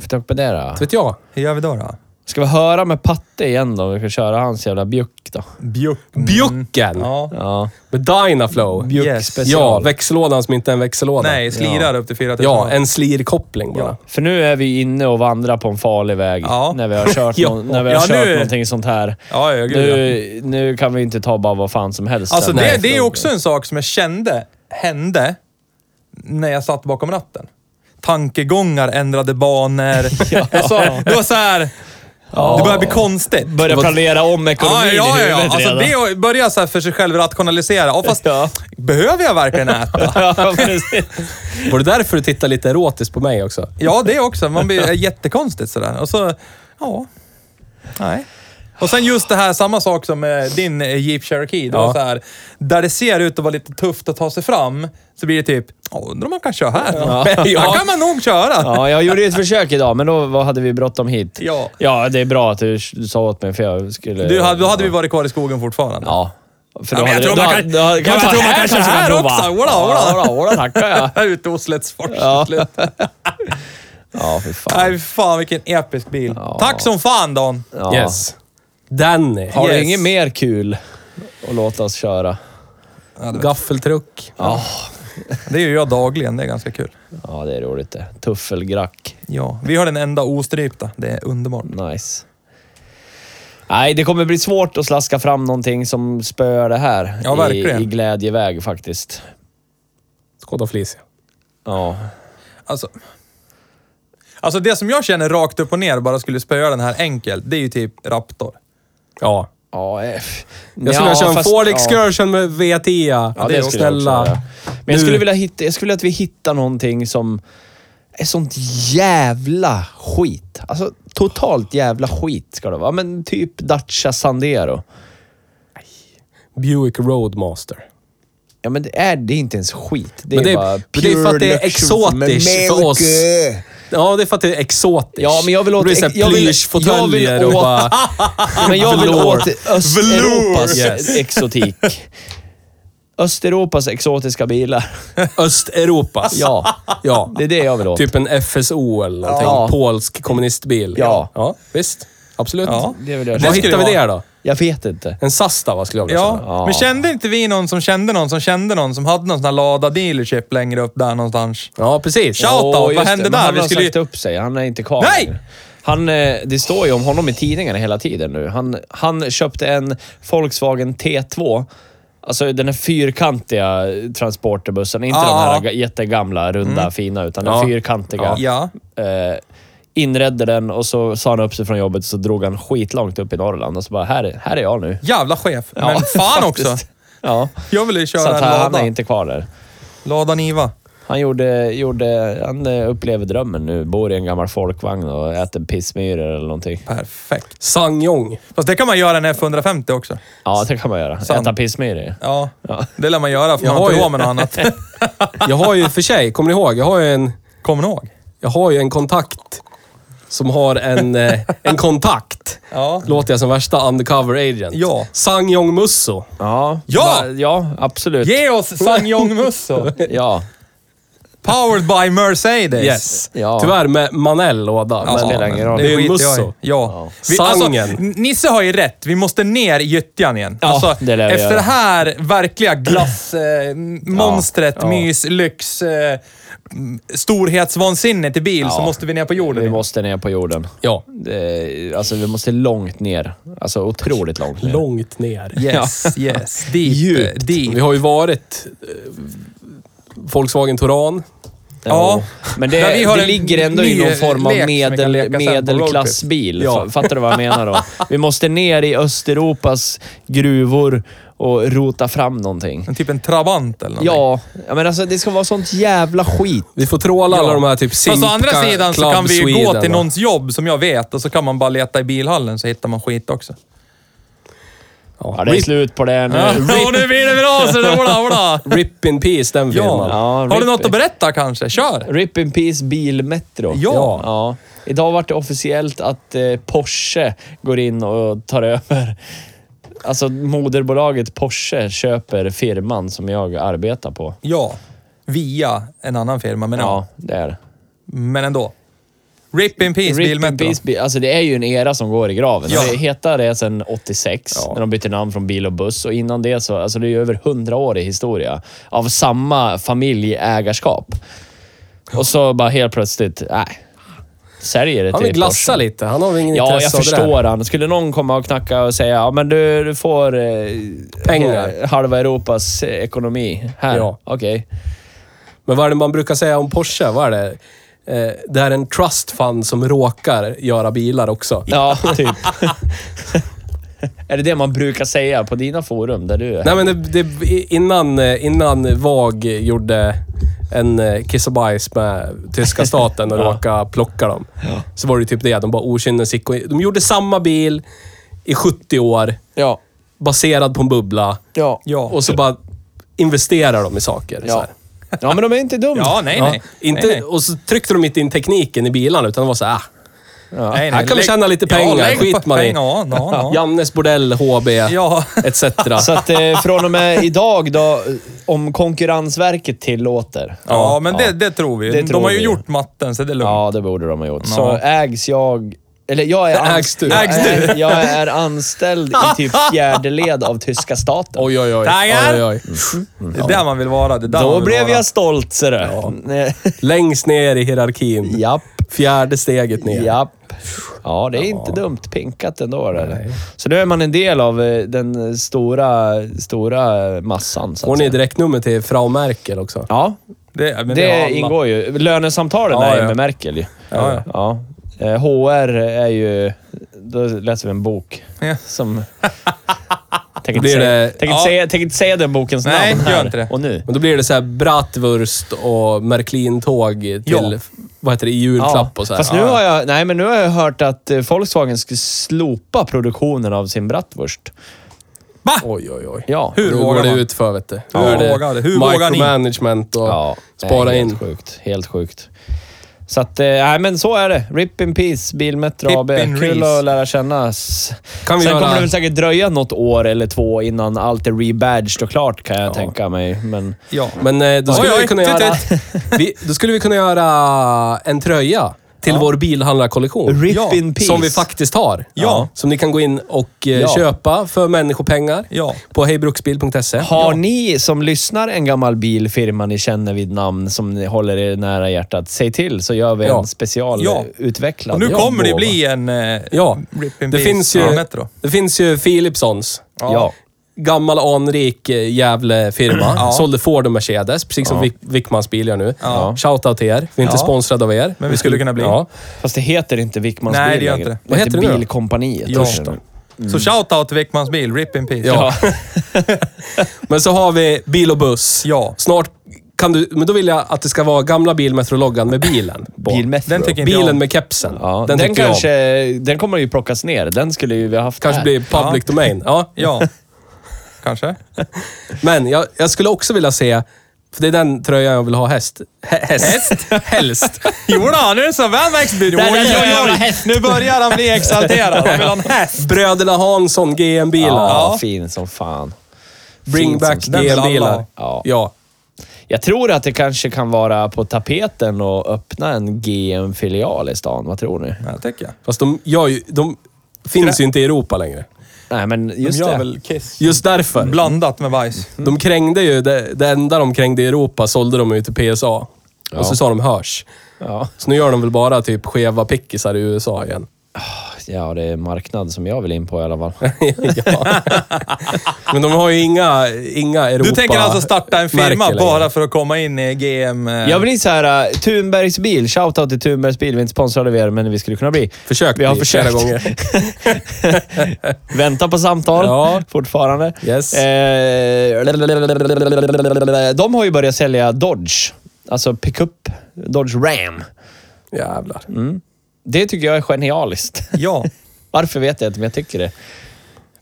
[SPEAKER 3] får vi ta på det då?
[SPEAKER 2] Inte vet jag.
[SPEAKER 1] Hur gör vi då då?
[SPEAKER 3] Ska vi höra med Patte igen då? Vi ska köra hans jävla bjuck då.
[SPEAKER 1] Bjuck. Mm.
[SPEAKER 2] Bjucken!
[SPEAKER 1] Ja.
[SPEAKER 3] Ja.
[SPEAKER 2] Med Dynaflow.
[SPEAKER 1] Bjuck
[SPEAKER 3] Yes.
[SPEAKER 1] special.
[SPEAKER 2] Ja, växellådan som inte är en växellåda.
[SPEAKER 1] Nej, slirar upp till 4000.
[SPEAKER 2] Ja, en slirkoppling bara.
[SPEAKER 3] För nu är vi inne och vandrar på en farlig väg
[SPEAKER 1] Ja.
[SPEAKER 3] när vi har
[SPEAKER 1] *laughs*
[SPEAKER 3] kört,
[SPEAKER 2] Ja.
[SPEAKER 3] någon, när vi har
[SPEAKER 1] Ja,
[SPEAKER 3] kört
[SPEAKER 1] nu-
[SPEAKER 3] någonting sånt här.
[SPEAKER 1] Ja, ja, gud,
[SPEAKER 3] nu, nu kan vi inte ta bara vad fan som helst.
[SPEAKER 1] Alltså
[SPEAKER 3] sen.
[SPEAKER 1] det,
[SPEAKER 3] Nej,
[SPEAKER 1] det är
[SPEAKER 3] för
[SPEAKER 1] ju
[SPEAKER 3] då-
[SPEAKER 1] också en sak som jag kände hände när jag satt bakom ratten. Tankegångar ändrade
[SPEAKER 3] *laughs*
[SPEAKER 1] banor. alltså, det var så här... Det börjar bli konstigt.
[SPEAKER 3] Börja planera om ekonomin
[SPEAKER 1] Ja, ja, ja.
[SPEAKER 3] i
[SPEAKER 1] ja.
[SPEAKER 3] huvudet
[SPEAKER 1] Alltså,
[SPEAKER 3] redan.
[SPEAKER 1] det är att börja så här för sig själv rationalisera. Ja, fast
[SPEAKER 3] Ja.
[SPEAKER 1] behöver jag verkligen
[SPEAKER 3] *laughs*
[SPEAKER 1] äta? *laughs*
[SPEAKER 3] ja, precis.
[SPEAKER 2] Var det därför du tittade lite erotiskt på mig också?
[SPEAKER 1] Ja, det också. Man
[SPEAKER 3] *laughs*
[SPEAKER 1] blir jättekonstigt sådär. Och så, ja. Nej. Och sen just det här, samma sak som eh, din eh, Jeep Cherokee. Det var
[SPEAKER 2] Ja.
[SPEAKER 1] så här, där det ser ut att vara lite tufft att ta sig fram, så blir det typ, "Ja, undrar om man kan köra här? *laughs* Ja. Här kan man nog köra.
[SPEAKER 3] ja, jag gjorde ju ett försök idag, men då vad hade vi bråttom hit.
[SPEAKER 1] Ja.
[SPEAKER 3] ja, det är bra att du du sa åt mig för jag skulle...
[SPEAKER 1] Du, hade- då hade vi varit kvar i skogen fortfarande.
[SPEAKER 3] Ja. För
[SPEAKER 1] Ja, men jag tror
[SPEAKER 3] då-
[SPEAKER 1] man kan-
[SPEAKER 3] då- då-
[SPEAKER 1] jag tror man kan köra här
[SPEAKER 3] prova.
[SPEAKER 1] också. Ola,
[SPEAKER 3] Ja,
[SPEAKER 1] ola.
[SPEAKER 3] ola, ola,
[SPEAKER 1] *laughs*
[SPEAKER 3] tackar jag.
[SPEAKER 1] Här ute hos Slättsfors.
[SPEAKER 3] Ja.
[SPEAKER 1] till slut.
[SPEAKER 3] Ja, fy fan.
[SPEAKER 1] Nej, fan vilken episk bil.
[SPEAKER 3] Ja.
[SPEAKER 1] Tack som fan Dan.
[SPEAKER 3] Ja.
[SPEAKER 2] Yes. Danny.
[SPEAKER 3] Har du
[SPEAKER 1] Yes.
[SPEAKER 3] inget mer kul att låta oss köra?
[SPEAKER 2] Gaffeltruck.
[SPEAKER 1] Det gör jag dagligen, det är ganska kul.
[SPEAKER 3] Ja, det är roligt det. Tuffelgrack.
[SPEAKER 1] Ja, vi har den enda ostrypta. Det är underbart.
[SPEAKER 3] Nice. Nej, det kommer bli svårt att slaska fram någonting som spöar det här.
[SPEAKER 1] Ja, verkligen.
[SPEAKER 3] I, i glädjeväg faktiskt.
[SPEAKER 2] Skåda Felicia.
[SPEAKER 3] Ja.
[SPEAKER 1] Alltså, alltså det som jag känner rakt upp och ner bara skulle spöa den här enkelt, det är ju typ Raptor.
[SPEAKER 2] Ja. eh,
[SPEAKER 3] Ja, F.
[SPEAKER 2] Jag skulle vilja köra en
[SPEAKER 3] fast-
[SPEAKER 2] Ford
[SPEAKER 3] ja.
[SPEAKER 2] Excursion med V10.
[SPEAKER 3] Ja, det,
[SPEAKER 1] det är
[SPEAKER 3] skulle jag också
[SPEAKER 2] snälla.
[SPEAKER 3] göra. Men jag
[SPEAKER 2] Nu-
[SPEAKER 3] skulle, vilja hitta, jag skulle vilja att vi hittar någonting som är sånt jävla skit. Alltså totalt jävla skit ska det vara. Men typ Dacia Sandero.
[SPEAKER 2] Buick Roadmaster.
[SPEAKER 3] Ja, men det är, det är inte ens skit. Det
[SPEAKER 2] Men
[SPEAKER 3] är
[SPEAKER 2] det är-
[SPEAKER 3] bara
[SPEAKER 2] men det är för att det är
[SPEAKER 3] pure luxury med
[SPEAKER 2] exotiskt för
[SPEAKER 3] milk.
[SPEAKER 2] oss. Ja, det är för att det är exotiskt.
[SPEAKER 3] Ja, men jag vill åt...
[SPEAKER 2] Det blir såhär
[SPEAKER 3] jag vill- jag
[SPEAKER 2] plyschfåtöljer
[SPEAKER 3] vill
[SPEAKER 2] och
[SPEAKER 3] åt-
[SPEAKER 2] bara...
[SPEAKER 3] *laughs* Men jag vill
[SPEAKER 2] Velour.
[SPEAKER 3] åt Östeuropas
[SPEAKER 2] Velour. Ah, Yes.
[SPEAKER 3] exotik.
[SPEAKER 2] *laughs*
[SPEAKER 3] Östeuropas exotiska bilar.
[SPEAKER 2] Östeuropas.
[SPEAKER 3] Ja,
[SPEAKER 2] ja.
[SPEAKER 3] det är det jag vill åt.
[SPEAKER 2] Typ en FSO eller någonting.
[SPEAKER 3] Ja.
[SPEAKER 2] Polsk kommunistbil.
[SPEAKER 3] Ja.
[SPEAKER 2] ja visst. Absolut.
[SPEAKER 1] Ja.
[SPEAKER 3] Det vill jag
[SPEAKER 2] Vad
[SPEAKER 1] Det
[SPEAKER 2] hittar
[SPEAKER 1] skulle
[SPEAKER 2] vi
[SPEAKER 1] vara-
[SPEAKER 2] där då?
[SPEAKER 3] Jag vet inte.
[SPEAKER 2] En Sastava skulle jag vilja
[SPEAKER 1] Ja,
[SPEAKER 2] säga.
[SPEAKER 1] men kände inte vi någon som kände någon som kände någon som hade någon sån här Lada dealership längre upp där någonstans?
[SPEAKER 2] Ja, precis.
[SPEAKER 1] Shout out,
[SPEAKER 3] Åh,
[SPEAKER 1] vad
[SPEAKER 3] just
[SPEAKER 1] hände
[SPEAKER 3] det, men
[SPEAKER 1] där?
[SPEAKER 3] Han
[SPEAKER 1] Vi
[SPEAKER 3] har
[SPEAKER 1] skulle ju-
[SPEAKER 3] sagt upp sig. Han är inte kvar.
[SPEAKER 1] Nej!
[SPEAKER 3] längre. Han, eh, det står ju om honom i tidningarna hela tiden nu. Han, han köpte en Volkswagen T2. Alltså den här fyrkantiga transporterbussen. Inte
[SPEAKER 1] Ja. Mm.
[SPEAKER 3] de här ga- jättegamla, runda, fina, utan
[SPEAKER 2] Ja.
[SPEAKER 3] den fyrkantiga.
[SPEAKER 1] Ja.
[SPEAKER 3] Eh, inredde den och så sa han upp sig från jobbet så drog han skitlångt upp i Norrland och så bara, här, är- här är jag nu. *laughs*
[SPEAKER 1] Jävla chef. men fan
[SPEAKER 3] faktiskt.
[SPEAKER 1] också.
[SPEAKER 3] Ja,
[SPEAKER 1] Jag ville ju
[SPEAKER 3] så
[SPEAKER 1] köra en
[SPEAKER 3] att han, han
[SPEAKER 1] Lada.
[SPEAKER 3] är inte kvar där.
[SPEAKER 1] Lada Niva.
[SPEAKER 3] Han, gjorde, gjorde, han eh, upplever drömmen nu. Bor i en gammal folkvagn och äter pissmyror eller någonting.
[SPEAKER 1] Perfekt.
[SPEAKER 2] Sangyong.
[SPEAKER 1] Fast det kan man göra en F150 också.
[SPEAKER 3] Ja, det kan man göra.
[SPEAKER 1] Sant.
[SPEAKER 3] Äta pissmyror.
[SPEAKER 1] Ja, det lär man göra för
[SPEAKER 2] Jag
[SPEAKER 1] man har
[SPEAKER 2] har
[SPEAKER 1] inte
[SPEAKER 2] ju-
[SPEAKER 1] råd med något
[SPEAKER 2] *laughs*
[SPEAKER 1] annat.
[SPEAKER 2] Jag har ju för sig, kommer ni ihåg? Jag har ju en,
[SPEAKER 1] Kommer ni ihåg?
[SPEAKER 2] jag har ju en kontakt som har en, eh, en kontakt.
[SPEAKER 1] Ja.
[SPEAKER 2] Låter jag som värsta undercover agent.
[SPEAKER 1] Ja.
[SPEAKER 2] Sangyong Musso.
[SPEAKER 3] Ja,
[SPEAKER 1] Ja!
[SPEAKER 3] Va- ja absolut.
[SPEAKER 1] Ge oss Sangyong
[SPEAKER 2] *laughs*
[SPEAKER 1] Musso!
[SPEAKER 3] Ja,
[SPEAKER 1] Powered by Mercedes.
[SPEAKER 2] Yes.
[SPEAKER 3] Ja.
[SPEAKER 2] Tyvärr med Manell låda.
[SPEAKER 3] Ja,
[SPEAKER 2] men-
[SPEAKER 3] spelar ingen roll.
[SPEAKER 2] Det är ju
[SPEAKER 1] skiter jag i.
[SPEAKER 2] Musso.
[SPEAKER 1] Ja. Vi,
[SPEAKER 2] Sangen.
[SPEAKER 1] Alltså, N- Nisse har ju rätt. Vi måste ner i gyttjan igen.
[SPEAKER 3] Ja,
[SPEAKER 1] alltså,
[SPEAKER 3] det lär vi
[SPEAKER 1] efter
[SPEAKER 3] göra.
[SPEAKER 1] det här verkliga glassmonstret, eh, monstret,
[SPEAKER 3] Ja.
[SPEAKER 1] mys, lyx, eh, m- storhetsvansinnet i bil så
[SPEAKER 3] Ja.
[SPEAKER 1] måste vi ner på jorden.
[SPEAKER 3] vi
[SPEAKER 1] igen.
[SPEAKER 3] måste ner på jorden.
[SPEAKER 2] Ja.
[SPEAKER 3] Det, alltså, vi måste långt ner. Alltså otroligt långt ner.
[SPEAKER 2] Långt ner.
[SPEAKER 1] Yes,
[SPEAKER 3] *laughs*
[SPEAKER 1] yes. Deep, eh,
[SPEAKER 2] Djupt. Vi
[SPEAKER 1] deep.
[SPEAKER 2] har ju varit eh, Volkswagen Touran.
[SPEAKER 1] Ja.
[SPEAKER 3] Men
[SPEAKER 1] Men
[SPEAKER 3] det,
[SPEAKER 1] vi har
[SPEAKER 3] det
[SPEAKER 1] en
[SPEAKER 3] ligger ändå i
[SPEAKER 1] ny
[SPEAKER 3] någon form av
[SPEAKER 1] lek som vi kan leka
[SPEAKER 3] medel,
[SPEAKER 1] sen på
[SPEAKER 3] medelklassbil.
[SPEAKER 2] roadtrip. Ja.
[SPEAKER 3] F- Fattar du vad jag
[SPEAKER 1] *laughs*
[SPEAKER 3] menar då? Vi måste ner i Östeuropas gruvor och rota fram någonting.
[SPEAKER 1] En Typ en Trabant eller någonting.
[SPEAKER 3] Ja, ja, men alltså det ska vara sånt jävla skit.
[SPEAKER 2] Vi får tråla alla de här typ
[SPEAKER 1] Fast å
[SPEAKER 2] Zinka,
[SPEAKER 1] andra sidan så
[SPEAKER 2] Club
[SPEAKER 1] kan vi ju
[SPEAKER 2] Sweden
[SPEAKER 1] gå till
[SPEAKER 2] och-
[SPEAKER 1] någons jobb som jag vet och så kan man bara leta i bilhallen så hittar man skit också.
[SPEAKER 3] Eh, Ja, det är
[SPEAKER 2] Rip-
[SPEAKER 3] slut på det
[SPEAKER 1] *laughs*
[SPEAKER 3] nu.
[SPEAKER 1] Ja, och nu blir det bra så det ola,
[SPEAKER 3] *laughs*
[SPEAKER 1] ola.
[SPEAKER 2] Rip in peace, den
[SPEAKER 1] Ja.
[SPEAKER 2] filmen.
[SPEAKER 3] Ja,
[SPEAKER 1] Har du
[SPEAKER 3] rip-
[SPEAKER 1] något att berätta kanske? Kör!
[SPEAKER 3] *laughs* Rip in peace bilmetro.
[SPEAKER 1] Ja.
[SPEAKER 3] ja. Idag vart det officiellt att eh, Porsche går in och tar över. Alltså moderbolaget Porsche köper firman som jag arbetar på.
[SPEAKER 1] Ja, via en annan firma, men, ja.
[SPEAKER 3] Ja, det är det.
[SPEAKER 1] men ändå. Rip in peace,
[SPEAKER 3] Rip in
[SPEAKER 1] bilmetro.
[SPEAKER 3] peace, bil, alltså det är ju en era som går i graven.
[SPEAKER 1] Ja.
[SPEAKER 3] Det heta det sedan 86, när de bytte namn från bil och buss. Och innan det så, alltså det är ju över 100 år i historia av samma familjeägarskap. Och så bara helt plötsligt, nej. Säljer det
[SPEAKER 2] Han
[SPEAKER 3] till
[SPEAKER 2] vill glassa
[SPEAKER 3] Porsche.
[SPEAKER 2] lite. Han har väl ingen
[SPEAKER 3] Ja, jag
[SPEAKER 2] intresse av det där.
[SPEAKER 3] förstår han. Skulle någon komma och knacka och säga, ja men du, du får eh,
[SPEAKER 2] Pengar.
[SPEAKER 3] eh, halva Europas eh, ekonomi här.
[SPEAKER 2] Ja.
[SPEAKER 3] Okej.
[SPEAKER 2] Men vad är det man brukar säga om Porsche? Vad är det? Eh, det är en trust fund som råkar göra bilar också.
[SPEAKER 3] Ja,
[SPEAKER 2] *laughs*
[SPEAKER 3] typ. *laughs* är det det man brukar säga på dina forum där du är?
[SPEAKER 2] Nej, men det, det, innan, eh, innan VAG gjorde en eh, kiss och bajs med tyska
[SPEAKER 1] *laughs*
[SPEAKER 2] staten och råkade plocka dem, så var det typ det. De bara okynnesgick. De gjorde samma bil i 70 år,
[SPEAKER 3] Ja.
[SPEAKER 2] baserad på en bubbla.
[SPEAKER 3] Ja.
[SPEAKER 1] Ja.
[SPEAKER 2] Och så bara investerar de i saker. Så här.
[SPEAKER 3] Ja, men de är inte dumma.
[SPEAKER 1] Ja, nej,
[SPEAKER 2] Ja,
[SPEAKER 1] nej.
[SPEAKER 2] inte,
[SPEAKER 1] nej, nej.
[SPEAKER 2] Och så tryckte de inte in tekniken i bilarna, utan det var så här. "Ah,
[SPEAKER 1] nej,
[SPEAKER 2] här kan vi
[SPEAKER 1] Lägg-
[SPEAKER 2] tjäna lite pengar.
[SPEAKER 1] Ja, lägg
[SPEAKER 2] Skit
[SPEAKER 1] på
[SPEAKER 2] man i.
[SPEAKER 1] pengar. Ja, ja, ja.
[SPEAKER 2] *laughs* Jannes bordell, HB,
[SPEAKER 1] Ja.
[SPEAKER 2] etc.
[SPEAKER 1] *laughs*
[SPEAKER 3] Så att eh, från och med idag då, eh, om Konkurrensverket tillåter.
[SPEAKER 1] ja, men det, det tror vi.
[SPEAKER 3] Det
[SPEAKER 1] De
[SPEAKER 3] tror
[SPEAKER 1] har ju
[SPEAKER 3] vi.
[SPEAKER 1] gjort matten, så det är lugnt.
[SPEAKER 3] Ja, det borde de ha gjort. Så
[SPEAKER 1] Ja.
[SPEAKER 3] ägs jag Eller jag är,
[SPEAKER 2] Ägs du?
[SPEAKER 1] *laughs*
[SPEAKER 3] jag,
[SPEAKER 1] Ägs du?
[SPEAKER 3] är, jag är anställd
[SPEAKER 1] *laughs*
[SPEAKER 3] i typ fjärde led av tyska staten.
[SPEAKER 2] Oj, oj, oj.
[SPEAKER 1] Taggar!
[SPEAKER 2] oj, oj.
[SPEAKER 1] Det är där man vill vara. Det är där man
[SPEAKER 3] Då
[SPEAKER 1] vill
[SPEAKER 3] blev
[SPEAKER 1] vara.
[SPEAKER 3] jag stolt, ser du. Nej,
[SPEAKER 2] Längst ner i hierarkin.
[SPEAKER 3] *laughs* Japp,
[SPEAKER 2] Fjärde steget ner.
[SPEAKER 3] japp. Ja, det är inte dumt pinkat ändå. Eller? Så nu är man en del av eh, den stora, stora massan. Så
[SPEAKER 2] Får
[SPEAKER 3] att
[SPEAKER 2] ni
[SPEAKER 3] säga.
[SPEAKER 2] direktnummer till Frau Merkel också?
[SPEAKER 3] Ja,
[SPEAKER 1] Det, men det, har alla.
[SPEAKER 3] det ingår ju. Lönesamtalen
[SPEAKER 1] Ja,
[SPEAKER 3] är ju
[SPEAKER 1] ja.
[SPEAKER 3] med Merkel ju.
[SPEAKER 1] Ja,
[SPEAKER 3] ja. Eh, HR är ju... Då läser vi en bok
[SPEAKER 1] Ja. *laughs*
[SPEAKER 3] som... Tänk inte,
[SPEAKER 2] Blir
[SPEAKER 3] säga,
[SPEAKER 2] det-
[SPEAKER 3] tänk, inte
[SPEAKER 1] Ja.
[SPEAKER 3] säga, tänk inte säga den bokens
[SPEAKER 1] Nej,
[SPEAKER 3] namn
[SPEAKER 1] gör
[SPEAKER 3] här
[SPEAKER 1] inte det.
[SPEAKER 3] och nu.
[SPEAKER 2] Men då blir det så här bratwurst och Märklintåg till,
[SPEAKER 1] Ja.
[SPEAKER 2] vad heter det, i julklapp och så här.
[SPEAKER 3] Fast nu har, jag, nej, men nu har jag hört att eh, Volkswagen ska slopa produktionen av sin bratwurst.
[SPEAKER 1] Va?
[SPEAKER 2] Oj, oj, oj.
[SPEAKER 3] Ja.
[SPEAKER 1] Hur
[SPEAKER 2] Hur
[SPEAKER 1] vågar
[SPEAKER 2] går det
[SPEAKER 1] man?
[SPEAKER 2] ut för vet du.
[SPEAKER 1] Hur
[SPEAKER 2] Nu är
[SPEAKER 1] vågar det? Hur vågar ni?
[SPEAKER 2] Micromanagement och
[SPEAKER 3] Ja,
[SPEAKER 2] spara
[SPEAKER 3] nej,
[SPEAKER 2] in.
[SPEAKER 3] Helt sjukt. Helt sjukt. Så att, eh, nej men så är det. Rip in peace, Bilmetro
[SPEAKER 1] Rip
[SPEAKER 3] AB.
[SPEAKER 1] in
[SPEAKER 3] Kul
[SPEAKER 1] peace.
[SPEAKER 3] att lära känna. S-
[SPEAKER 2] Kan vi
[SPEAKER 3] Sen
[SPEAKER 2] göra-
[SPEAKER 3] kommer det väl säkert dröja något år eller två innan allt är rebadged och klart kan jag tänka mig. Men
[SPEAKER 1] Ja.
[SPEAKER 2] Men eh, då
[SPEAKER 1] Oj,
[SPEAKER 2] skulle,
[SPEAKER 1] oj,
[SPEAKER 2] vi, kunna
[SPEAKER 1] titt,
[SPEAKER 2] göra, *laughs* vi, då skulle vi kunna göra en tröja till vår bilhandlarkollektion.
[SPEAKER 3] rip
[SPEAKER 1] Ja,
[SPEAKER 3] in peace.
[SPEAKER 2] Som vi faktiskt har.
[SPEAKER 1] Ja.
[SPEAKER 2] Som ni kan gå in och eh,
[SPEAKER 3] Ja.
[SPEAKER 2] köpa för människopengar
[SPEAKER 1] Ja.
[SPEAKER 2] på hejbruksbil.se.
[SPEAKER 3] har ni som lyssnar en gammal bilfirma ni känner vid namn som ni håller er nära hjärtat, säg till så gör vi
[SPEAKER 2] Ja.
[SPEAKER 3] en special
[SPEAKER 1] Ja.
[SPEAKER 3] utvecklad.
[SPEAKER 1] Och nu
[SPEAKER 3] Ja,
[SPEAKER 1] kommer det
[SPEAKER 3] gåva.
[SPEAKER 1] bli en... Eh,
[SPEAKER 2] Ja,
[SPEAKER 1] Rip in
[SPEAKER 2] det
[SPEAKER 1] peace,
[SPEAKER 2] finns,
[SPEAKER 1] ja.
[SPEAKER 2] ju,
[SPEAKER 1] Metro.
[SPEAKER 2] det finns ju Philipsons.
[SPEAKER 3] Ja.
[SPEAKER 2] Gammal anrik eh, Gävle-firma. Sålde Ford och Mercedes, precis som Wick- Wickmans bil gör nu.
[SPEAKER 1] Ja.
[SPEAKER 2] Shoutout till er. Vi är inte
[SPEAKER 1] Ja.
[SPEAKER 2] sponsrade av er.
[SPEAKER 1] Men vi skulle kunna bli.
[SPEAKER 2] Ja.
[SPEAKER 3] Fast det heter inte Wickmans
[SPEAKER 1] Nej,
[SPEAKER 3] bil
[SPEAKER 1] det gör
[SPEAKER 3] längre.
[SPEAKER 1] inte det.
[SPEAKER 2] Vad heter det nu då?
[SPEAKER 3] Bilkompaniet.
[SPEAKER 2] Ja.
[SPEAKER 3] heter det.
[SPEAKER 1] Så shout-out till Wickmans bil. Rip in peace.
[SPEAKER 2] Ja. *laughs* men så har vi bil och buss.
[SPEAKER 1] Ja.
[SPEAKER 2] Snart kan du... Men då vill jag att det ska vara gamla bilmetrologgan med bilen. på.
[SPEAKER 3] Bilmetro.
[SPEAKER 1] Den tycker inte jag
[SPEAKER 2] Bilen
[SPEAKER 1] om.
[SPEAKER 2] med kepsen.
[SPEAKER 3] Ja,
[SPEAKER 2] den
[SPEAKER 3] den,
[SPEAKER 2] tycker jag om.
[SPEAKER 3] kanske, den kommer ju plockas ner. Den skulle ju vi ha haft Äh.
[SPEAKER 2] Kanske
[SPEAKER 3] här.
[SPEAKER 2] blir public domain. Ja.
[SPEAKER 1] Ja. Kanske.
[SPEAKER 2] Men jag, jag skulle också vilja se, för det är den tröjan jag vill ha häst. Hä, häst? *laughs* Helst.
[SPEAKER 1] Jodå, nu är det så vanvägsbil.
[SPEAKER 3] Där, där,
[SPEAKER 1] Oj,
[SPEAKER 3] där,
[SPEAKER 1] oj,
[SPEAKER 3] jävla
[SPEAKER 1] oj.
[SPEAKER 3] häst.
[SPEAKER 1] Nu börjar han bli exalterad. Han vill ha en häst.
[SPEAKER 2] Bröderna Hansson GM-bilar.
[SPEAKER 3] *laughs* Ja,
[SPEAKER 1] Ja.
[SPEAKER 3] fin som fan.
[SPEAKER 2] Bring
[SPEAKER 3] Fint
[SPEAKER 2] back
[SPEAKER 3] som
[SPEAKER 1] den vill alla
[SPEAKER 2] GM-bilar.
[SPEAKER 1] ha.
[SPEAKER 2] Ja. ja.
[SPEAKER 3] Ja. Jag tror att det kanske kan vara på tapeten att öppna en GM-filial i stan. Vad tror ni?
[SPEAKER 1] Ja, tycker jag.
[SPEAKER 2] Fast de, gör ju, de finns ju inte i Europa längre.
[SPEAKER 3] Nej, men just
[SPEAKER 1] gör
[SPEAKER 3] det.
[SPEAKER 1] väl Kiss. Mm.
[SPEAKER 2] Just därför.
[SPEAKER 1] Blandat med Vice.
[SPEAKER 2] De krängde ju, det, det enda de krängde i Europa sålde de ju till PSA. Och så sa de hörs.
[SPEAKER 3] Ja.
[SPEAKER 2] Så nu gör de väl bara typ skeva pickisar i USA igen. *laughs*
[SPEAKER 3] ja, det är en marknad som jag vill in på i alla fall.
[SPEAKER 2] ja. Men de har ju inga, inga Europa...
[SPEAKER 1] Du tänker alltså starta en firma
[SPEAKER 2] märker längre.
[SPEAKER 1] bara för att komma in i GM... eh,
[SPEAKER 3] Jag blir så här, uh, Thunbergs bil. Shoutout till Thunbergs bil. Vi är inte sponsrade av er, men vi skulle kunna bli.
[SPEAKER 2] Försökt
[SPEAKER 3] Vi har
[SPEAKER 2] bli
[SPEAKER 3] försökt.
[SPEAKER 2] flera gånger.
[SPEAKER 1] *laughs*
[SPEAKER 3] Vänta på samtal
[SPEAKER 2] Ja.
[SPEAKER 3] fortfarande.
[SPEAKER 2] Yes.
[SPEAKER 3] Eh, de har ju börjat sälja Dodge. Alltså pickup. Dodge Ram.
[SPEAKER 2] Jävlar.
[SPEAKER 1] Mm.
[SPEAKER 3] Det tycker jag är genialiskt.
[SPEAKER 1] Ja.
[SPEAKER 3] Varför vet jag inte, men jag tycker det.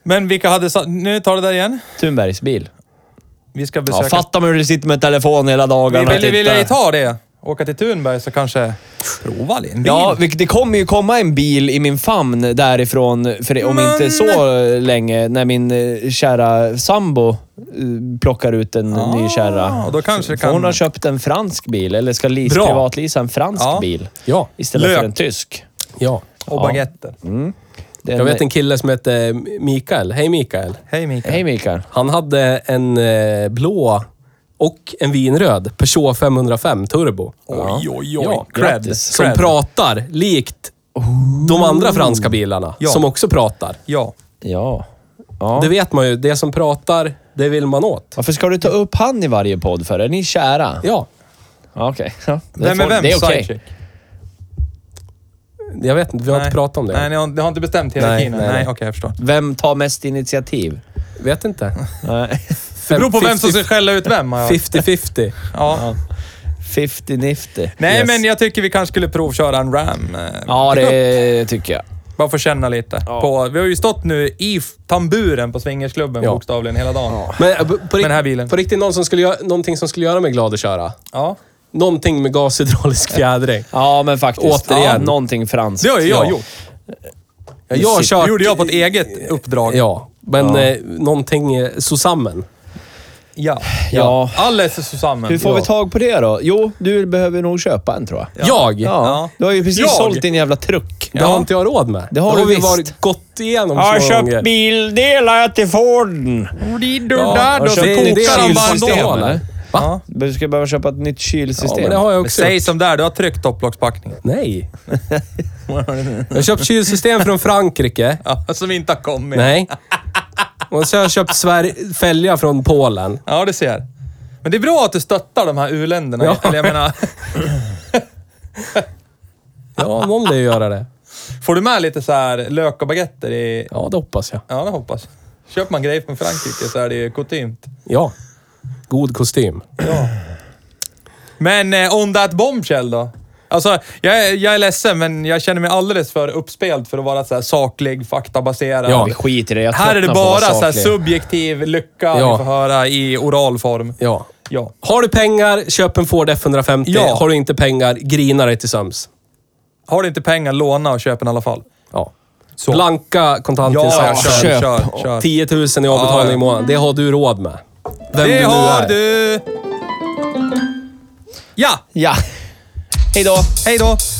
[SPEAKER 1] Men vilka hade... sa- Nu tar det där igen.
[SPEAKER 3] Thunbergs bil.
[SPEAKER 1] Vi ska
[SPEAKER 3] Ja,
[SPEAKER 1] besöka...
[SPEAKER 3] fatta mig hur du sitter med telefon hela
[SPEAKER 1] Vi
[SPEAKER 3] dagarna.
[SPEAKER 1] vill, vill
[SPEAKER 3] titta.
[SPEAKER 1] ej ta det. Åka till Thunberg så kanske prova en bil.
[SPEAKER 3] Ja, vi- det kommer ju komma en bil i min famn därifrån, för det- om
[SPEAKER 1] Men-
[SPEAKER 3] inte så länge, när min eh, kära sambo eh, plockar ut en ny kärra.
[SPEAKER 1] och Ah, då kanske det
[SPEAKER 3] För Hon
[SPEAKER 1] kan-
[SPEAKER 3] har köpt en fransk bil, eller ska lease,
[SPEAKER 2] Bra.
[SPEAKER 3] privatleasa en fransk
[SPEAKER 1] Ja.
[SPEAKER 3] bil
[SPEAKER 2] Ja.
[SPEAKER 3] istället
[SPEAKER 1] Lök.
[SPEAKER 3] för en tysk.
[SPEAKER 2] Ja.
[SPEAKER 1] och baguetter.
[SPEAKER 3] Det är
[SPEAKER 2] Jag vet en kille som heter Mikael. Hej Mikael.
[SPEAKER 1] Hej Mikael.
[SPEAKER 3] Hej Mikael.
[SPEAKER 2] Han hade en eh, blå och en vinröd Peugeot 505 turbo.
[SPEAKER 1] Oj, oj, oj.
[SPEAKER 2] Ja,
[SPEAKER 1] cred.
[SPEAKER 3] grattis.
[SPEAKER 2] Som
[SPEAKER 1] cred.
[SPEAKER 2] pratar likt de andra franska bilarna
[SPEAKER 1] Oh. Ja.
[SPEAKER 2] som också pratar.
[SPEAKER 1] Ja.
[SPEAKER 3] Ja. ja.
[SPEAKER 2] Det vet man ju. Det som pratar, det vill man åt.
[SPEAKER 3] Varför ska du ta upp han i varje podd för? Är ni kära?
[SPEAKER 2] Ja,
[SPEAKER 3] Ja, Okej. Ja, det,
[SPEAKER 1] Vem är
[SPEAKER 3] får-
[SPEAKER 1] vem?
[SPEAKER 3] det är okej.
[SPEAKER 1] Sidekick?
[SPEAKER 2] jag vet inte. Vi har
[SPEAKER 1] Nej.
[SPEAKER 2] inte pratat om det.
[SPEAKER 1] Nej, ni har, ni har inte bestämt hierarkin?
[SPEAKER 2] Nej,
[SPEAKER 1] Nej,
[SPEAKER 2] nej,
[SPEAKER 1] nej,
[SPEAKER 2] nej.
[SPEAKER 1] okej, jag förstår.
[SPEAKER 3] Vem tar mest initiativ?
[SPEAKER 1] *laughs*
[SPEAKER 2] Vet inte.
[SPEAKER 3] Nej. *laughs*
[SPEAKER 1] Det beror på vem som ska skälla ut vem. har jag-
[SPEAKER 2] 50-50.
[SPEAKER 1] Ja.
[SPEAKER 3] Fifty-nifty.
[SPEAKER 1] Nej,
[SPEAKER 2] Yes.
[SPEAKER 1] men jag tycker vi kanske skulle provköra en RAM. eh,
[SPEAKER 3] Ja, det *laughs* tycker jag.
[SPEAKER 1] Bara för att känna lite. På, vi har ju stått nu i f- tamburen på swingersklubben
[SPEAKER 2] Ja.
[SPEAKER 1] bokstavligen hela dagen. Ja.
[SPEAKER 2] Men eh, på, på, rikt-
[SPEAKER 1] den här bilen.
[SPEAKER 2] på riktigt, någon som skulle göra, någonting som skulle göra mig glad att köra. Någonting
[SPEAKER 1] *laughs*
[SPEAKER 2] med gashydraulisk fjädring.
[SPEAKER 3] Ja, men faktiskt.
[SPEAKER 2] Återigen.
[SPEAKER 3] Ja, någonting franskt.
[SPEAKER 1] Det har ju jag
[SPEAKER 3] Ja.
[SPEAKER 1] gjort.
[SPEAKER 2] Ja, Jag har
[SPEAKER 1] Det
[SPEAKER 2] kört...
[SPEAKER 1] gjorde jag på ett eget uppdrag.
[SPEAKER 2] Ja, men Eh, någonting eh, zusammen.
[SPEAKER 1] Ja.
[SPEAKER 3] Ja.
[SPEAKER 1] Alles är zusammen.
[SPEAKER 3] Hur får
[SPEAKER 1] ja.
[SPEAKER 3] vi tag på det då? Jo, du behöver nog köpa en tror jag.
[SPEAKER 2] Jag?
[SPEAKER 3] Ja. Du har ju precis
[SPEAKER 1] Jag?
[SPEAKER 3] sålt din jävla truck.
[SPEAKER 2] Det har inte jag råd med.
[SPEAKER 3] Det har
[SPEAKER 2] Då
[SPEAKER 3] du
[SPEAKER 2] vi
[SPEAKER 3] visst.
[SPEAKER 2] varit gått igenom
[SPEAKER 4] Jag har
[SPEAKER 2] så många
[SPEAKER 4] köpt
[SPEAKER 2] gånger.
[SPEAKER 4] bildelar till Forden.
[SPEAKER 1] Ja,
[SPEAKER 4] där då?
[SPEAKER 1] och
[SPEAKER 4] Så
[SPEAKER 1] det-
[SPEAKER 4] kokar
[SPEAKER 1] det är
[SPEAKER 4] de bara
[SPEAKER 1] kylsystem,
[SPEAKER 4] ändå,
[SPEAKER 1] eller?
[SPEAKER 2] eller?
[SPEAKER 1] Ja.
[SPEAKER 3] Du ska behöva köpa ett nytt
[SPEAKER 2] Ja,
[SPEAKER 3] kylsystem.
[SPEAKER 2] men det har jag
[SPEAKER 1] Men
[SPEAKER 2] också
[SPEAKER 1] Säg
[SPEAKER 2] gjort.
[SPEAKER 1] som där, du har tryckt topplockspackning.
[SPEAKER 2] Nej. jag har köpt kylsystem från Frankrike.
[SPEAKER 1] Ja, som inte har kommit.
[SPEAKER 2] Nej. Och så har jag köpt Sver- fälgar från Polen.
[SPEAKER 1] Ja, det ser. Men det är bra att du stöttar de här u-länderna.
[SPEAKER 2] Ja.
[SPEAKER 1] Eller jag menar,
[SPEAKER 2] Ja, någon lär ju göra det.
[SPEAKER 1] får du med lite så här lök och baguetter i...
[SPEAKER 2] Ja, det hoppas jag.
[SPEAKER 1] Ja, det hoppas jag. Köper man grejer från Frankrike så är det ju kutymt.
[SPEAKER 2] Ja. God kostym.
[SPEAKER 1] Men eh, on that bombshell då? Alltså, jag, är- jag är ledsen, men jag känner mig alldeles för uppspelt för att vara så här saklig, faktabaserad.
[SPEAKER 2] Ja,
[SPEAKER 3] Vi skiter i det. Jag
[SPEAKER 1] Här är det
[SPEAKER 3] tröttnar på
[SPEAKER 1] bara
[SPEAKER 3] att vara
[SPEAKER 1] så här
[SPEAKER 3] saklig.
[SPEAKER 1] subjektiv lycka
[SPEAKER 2] Ja.
[SPEAKER 1] vi får höra i oral form.
[SPEAKER 2] Ja.
[SPEAKER 1] Ja.
[SPEAKER 2] Har du pengar, köp en Ford F150.
[SPEAKER 1] Ja.
[SPEAKER 2] Har du inte pengar, grina dig till söms.
[SPEAKER 1] Har du inte pengar, låna och köp en i alla fall.
[SPEAKER 2] Ja. Blanka
[SPEAKER 1] Ja,
[SPEAKER 2] kontantinsatser.
[SPEAKER 1] kör,
[SPEAKER 3] köp.
[SPEAKER 1] kör, kör.
[SPEAKER 2] 10 000 i avbetalning i månaden. Det har du råd med. Vem
[SPEAKER 1] Det
[SPEAKER 2] du nu
[SPEAKER 1] har
[SPEAKER 2] är.
[SPEAKER 1] du! Ja,
[SPEAKER 3] Ja. Hej då.
[SPEAKER 1] hej då!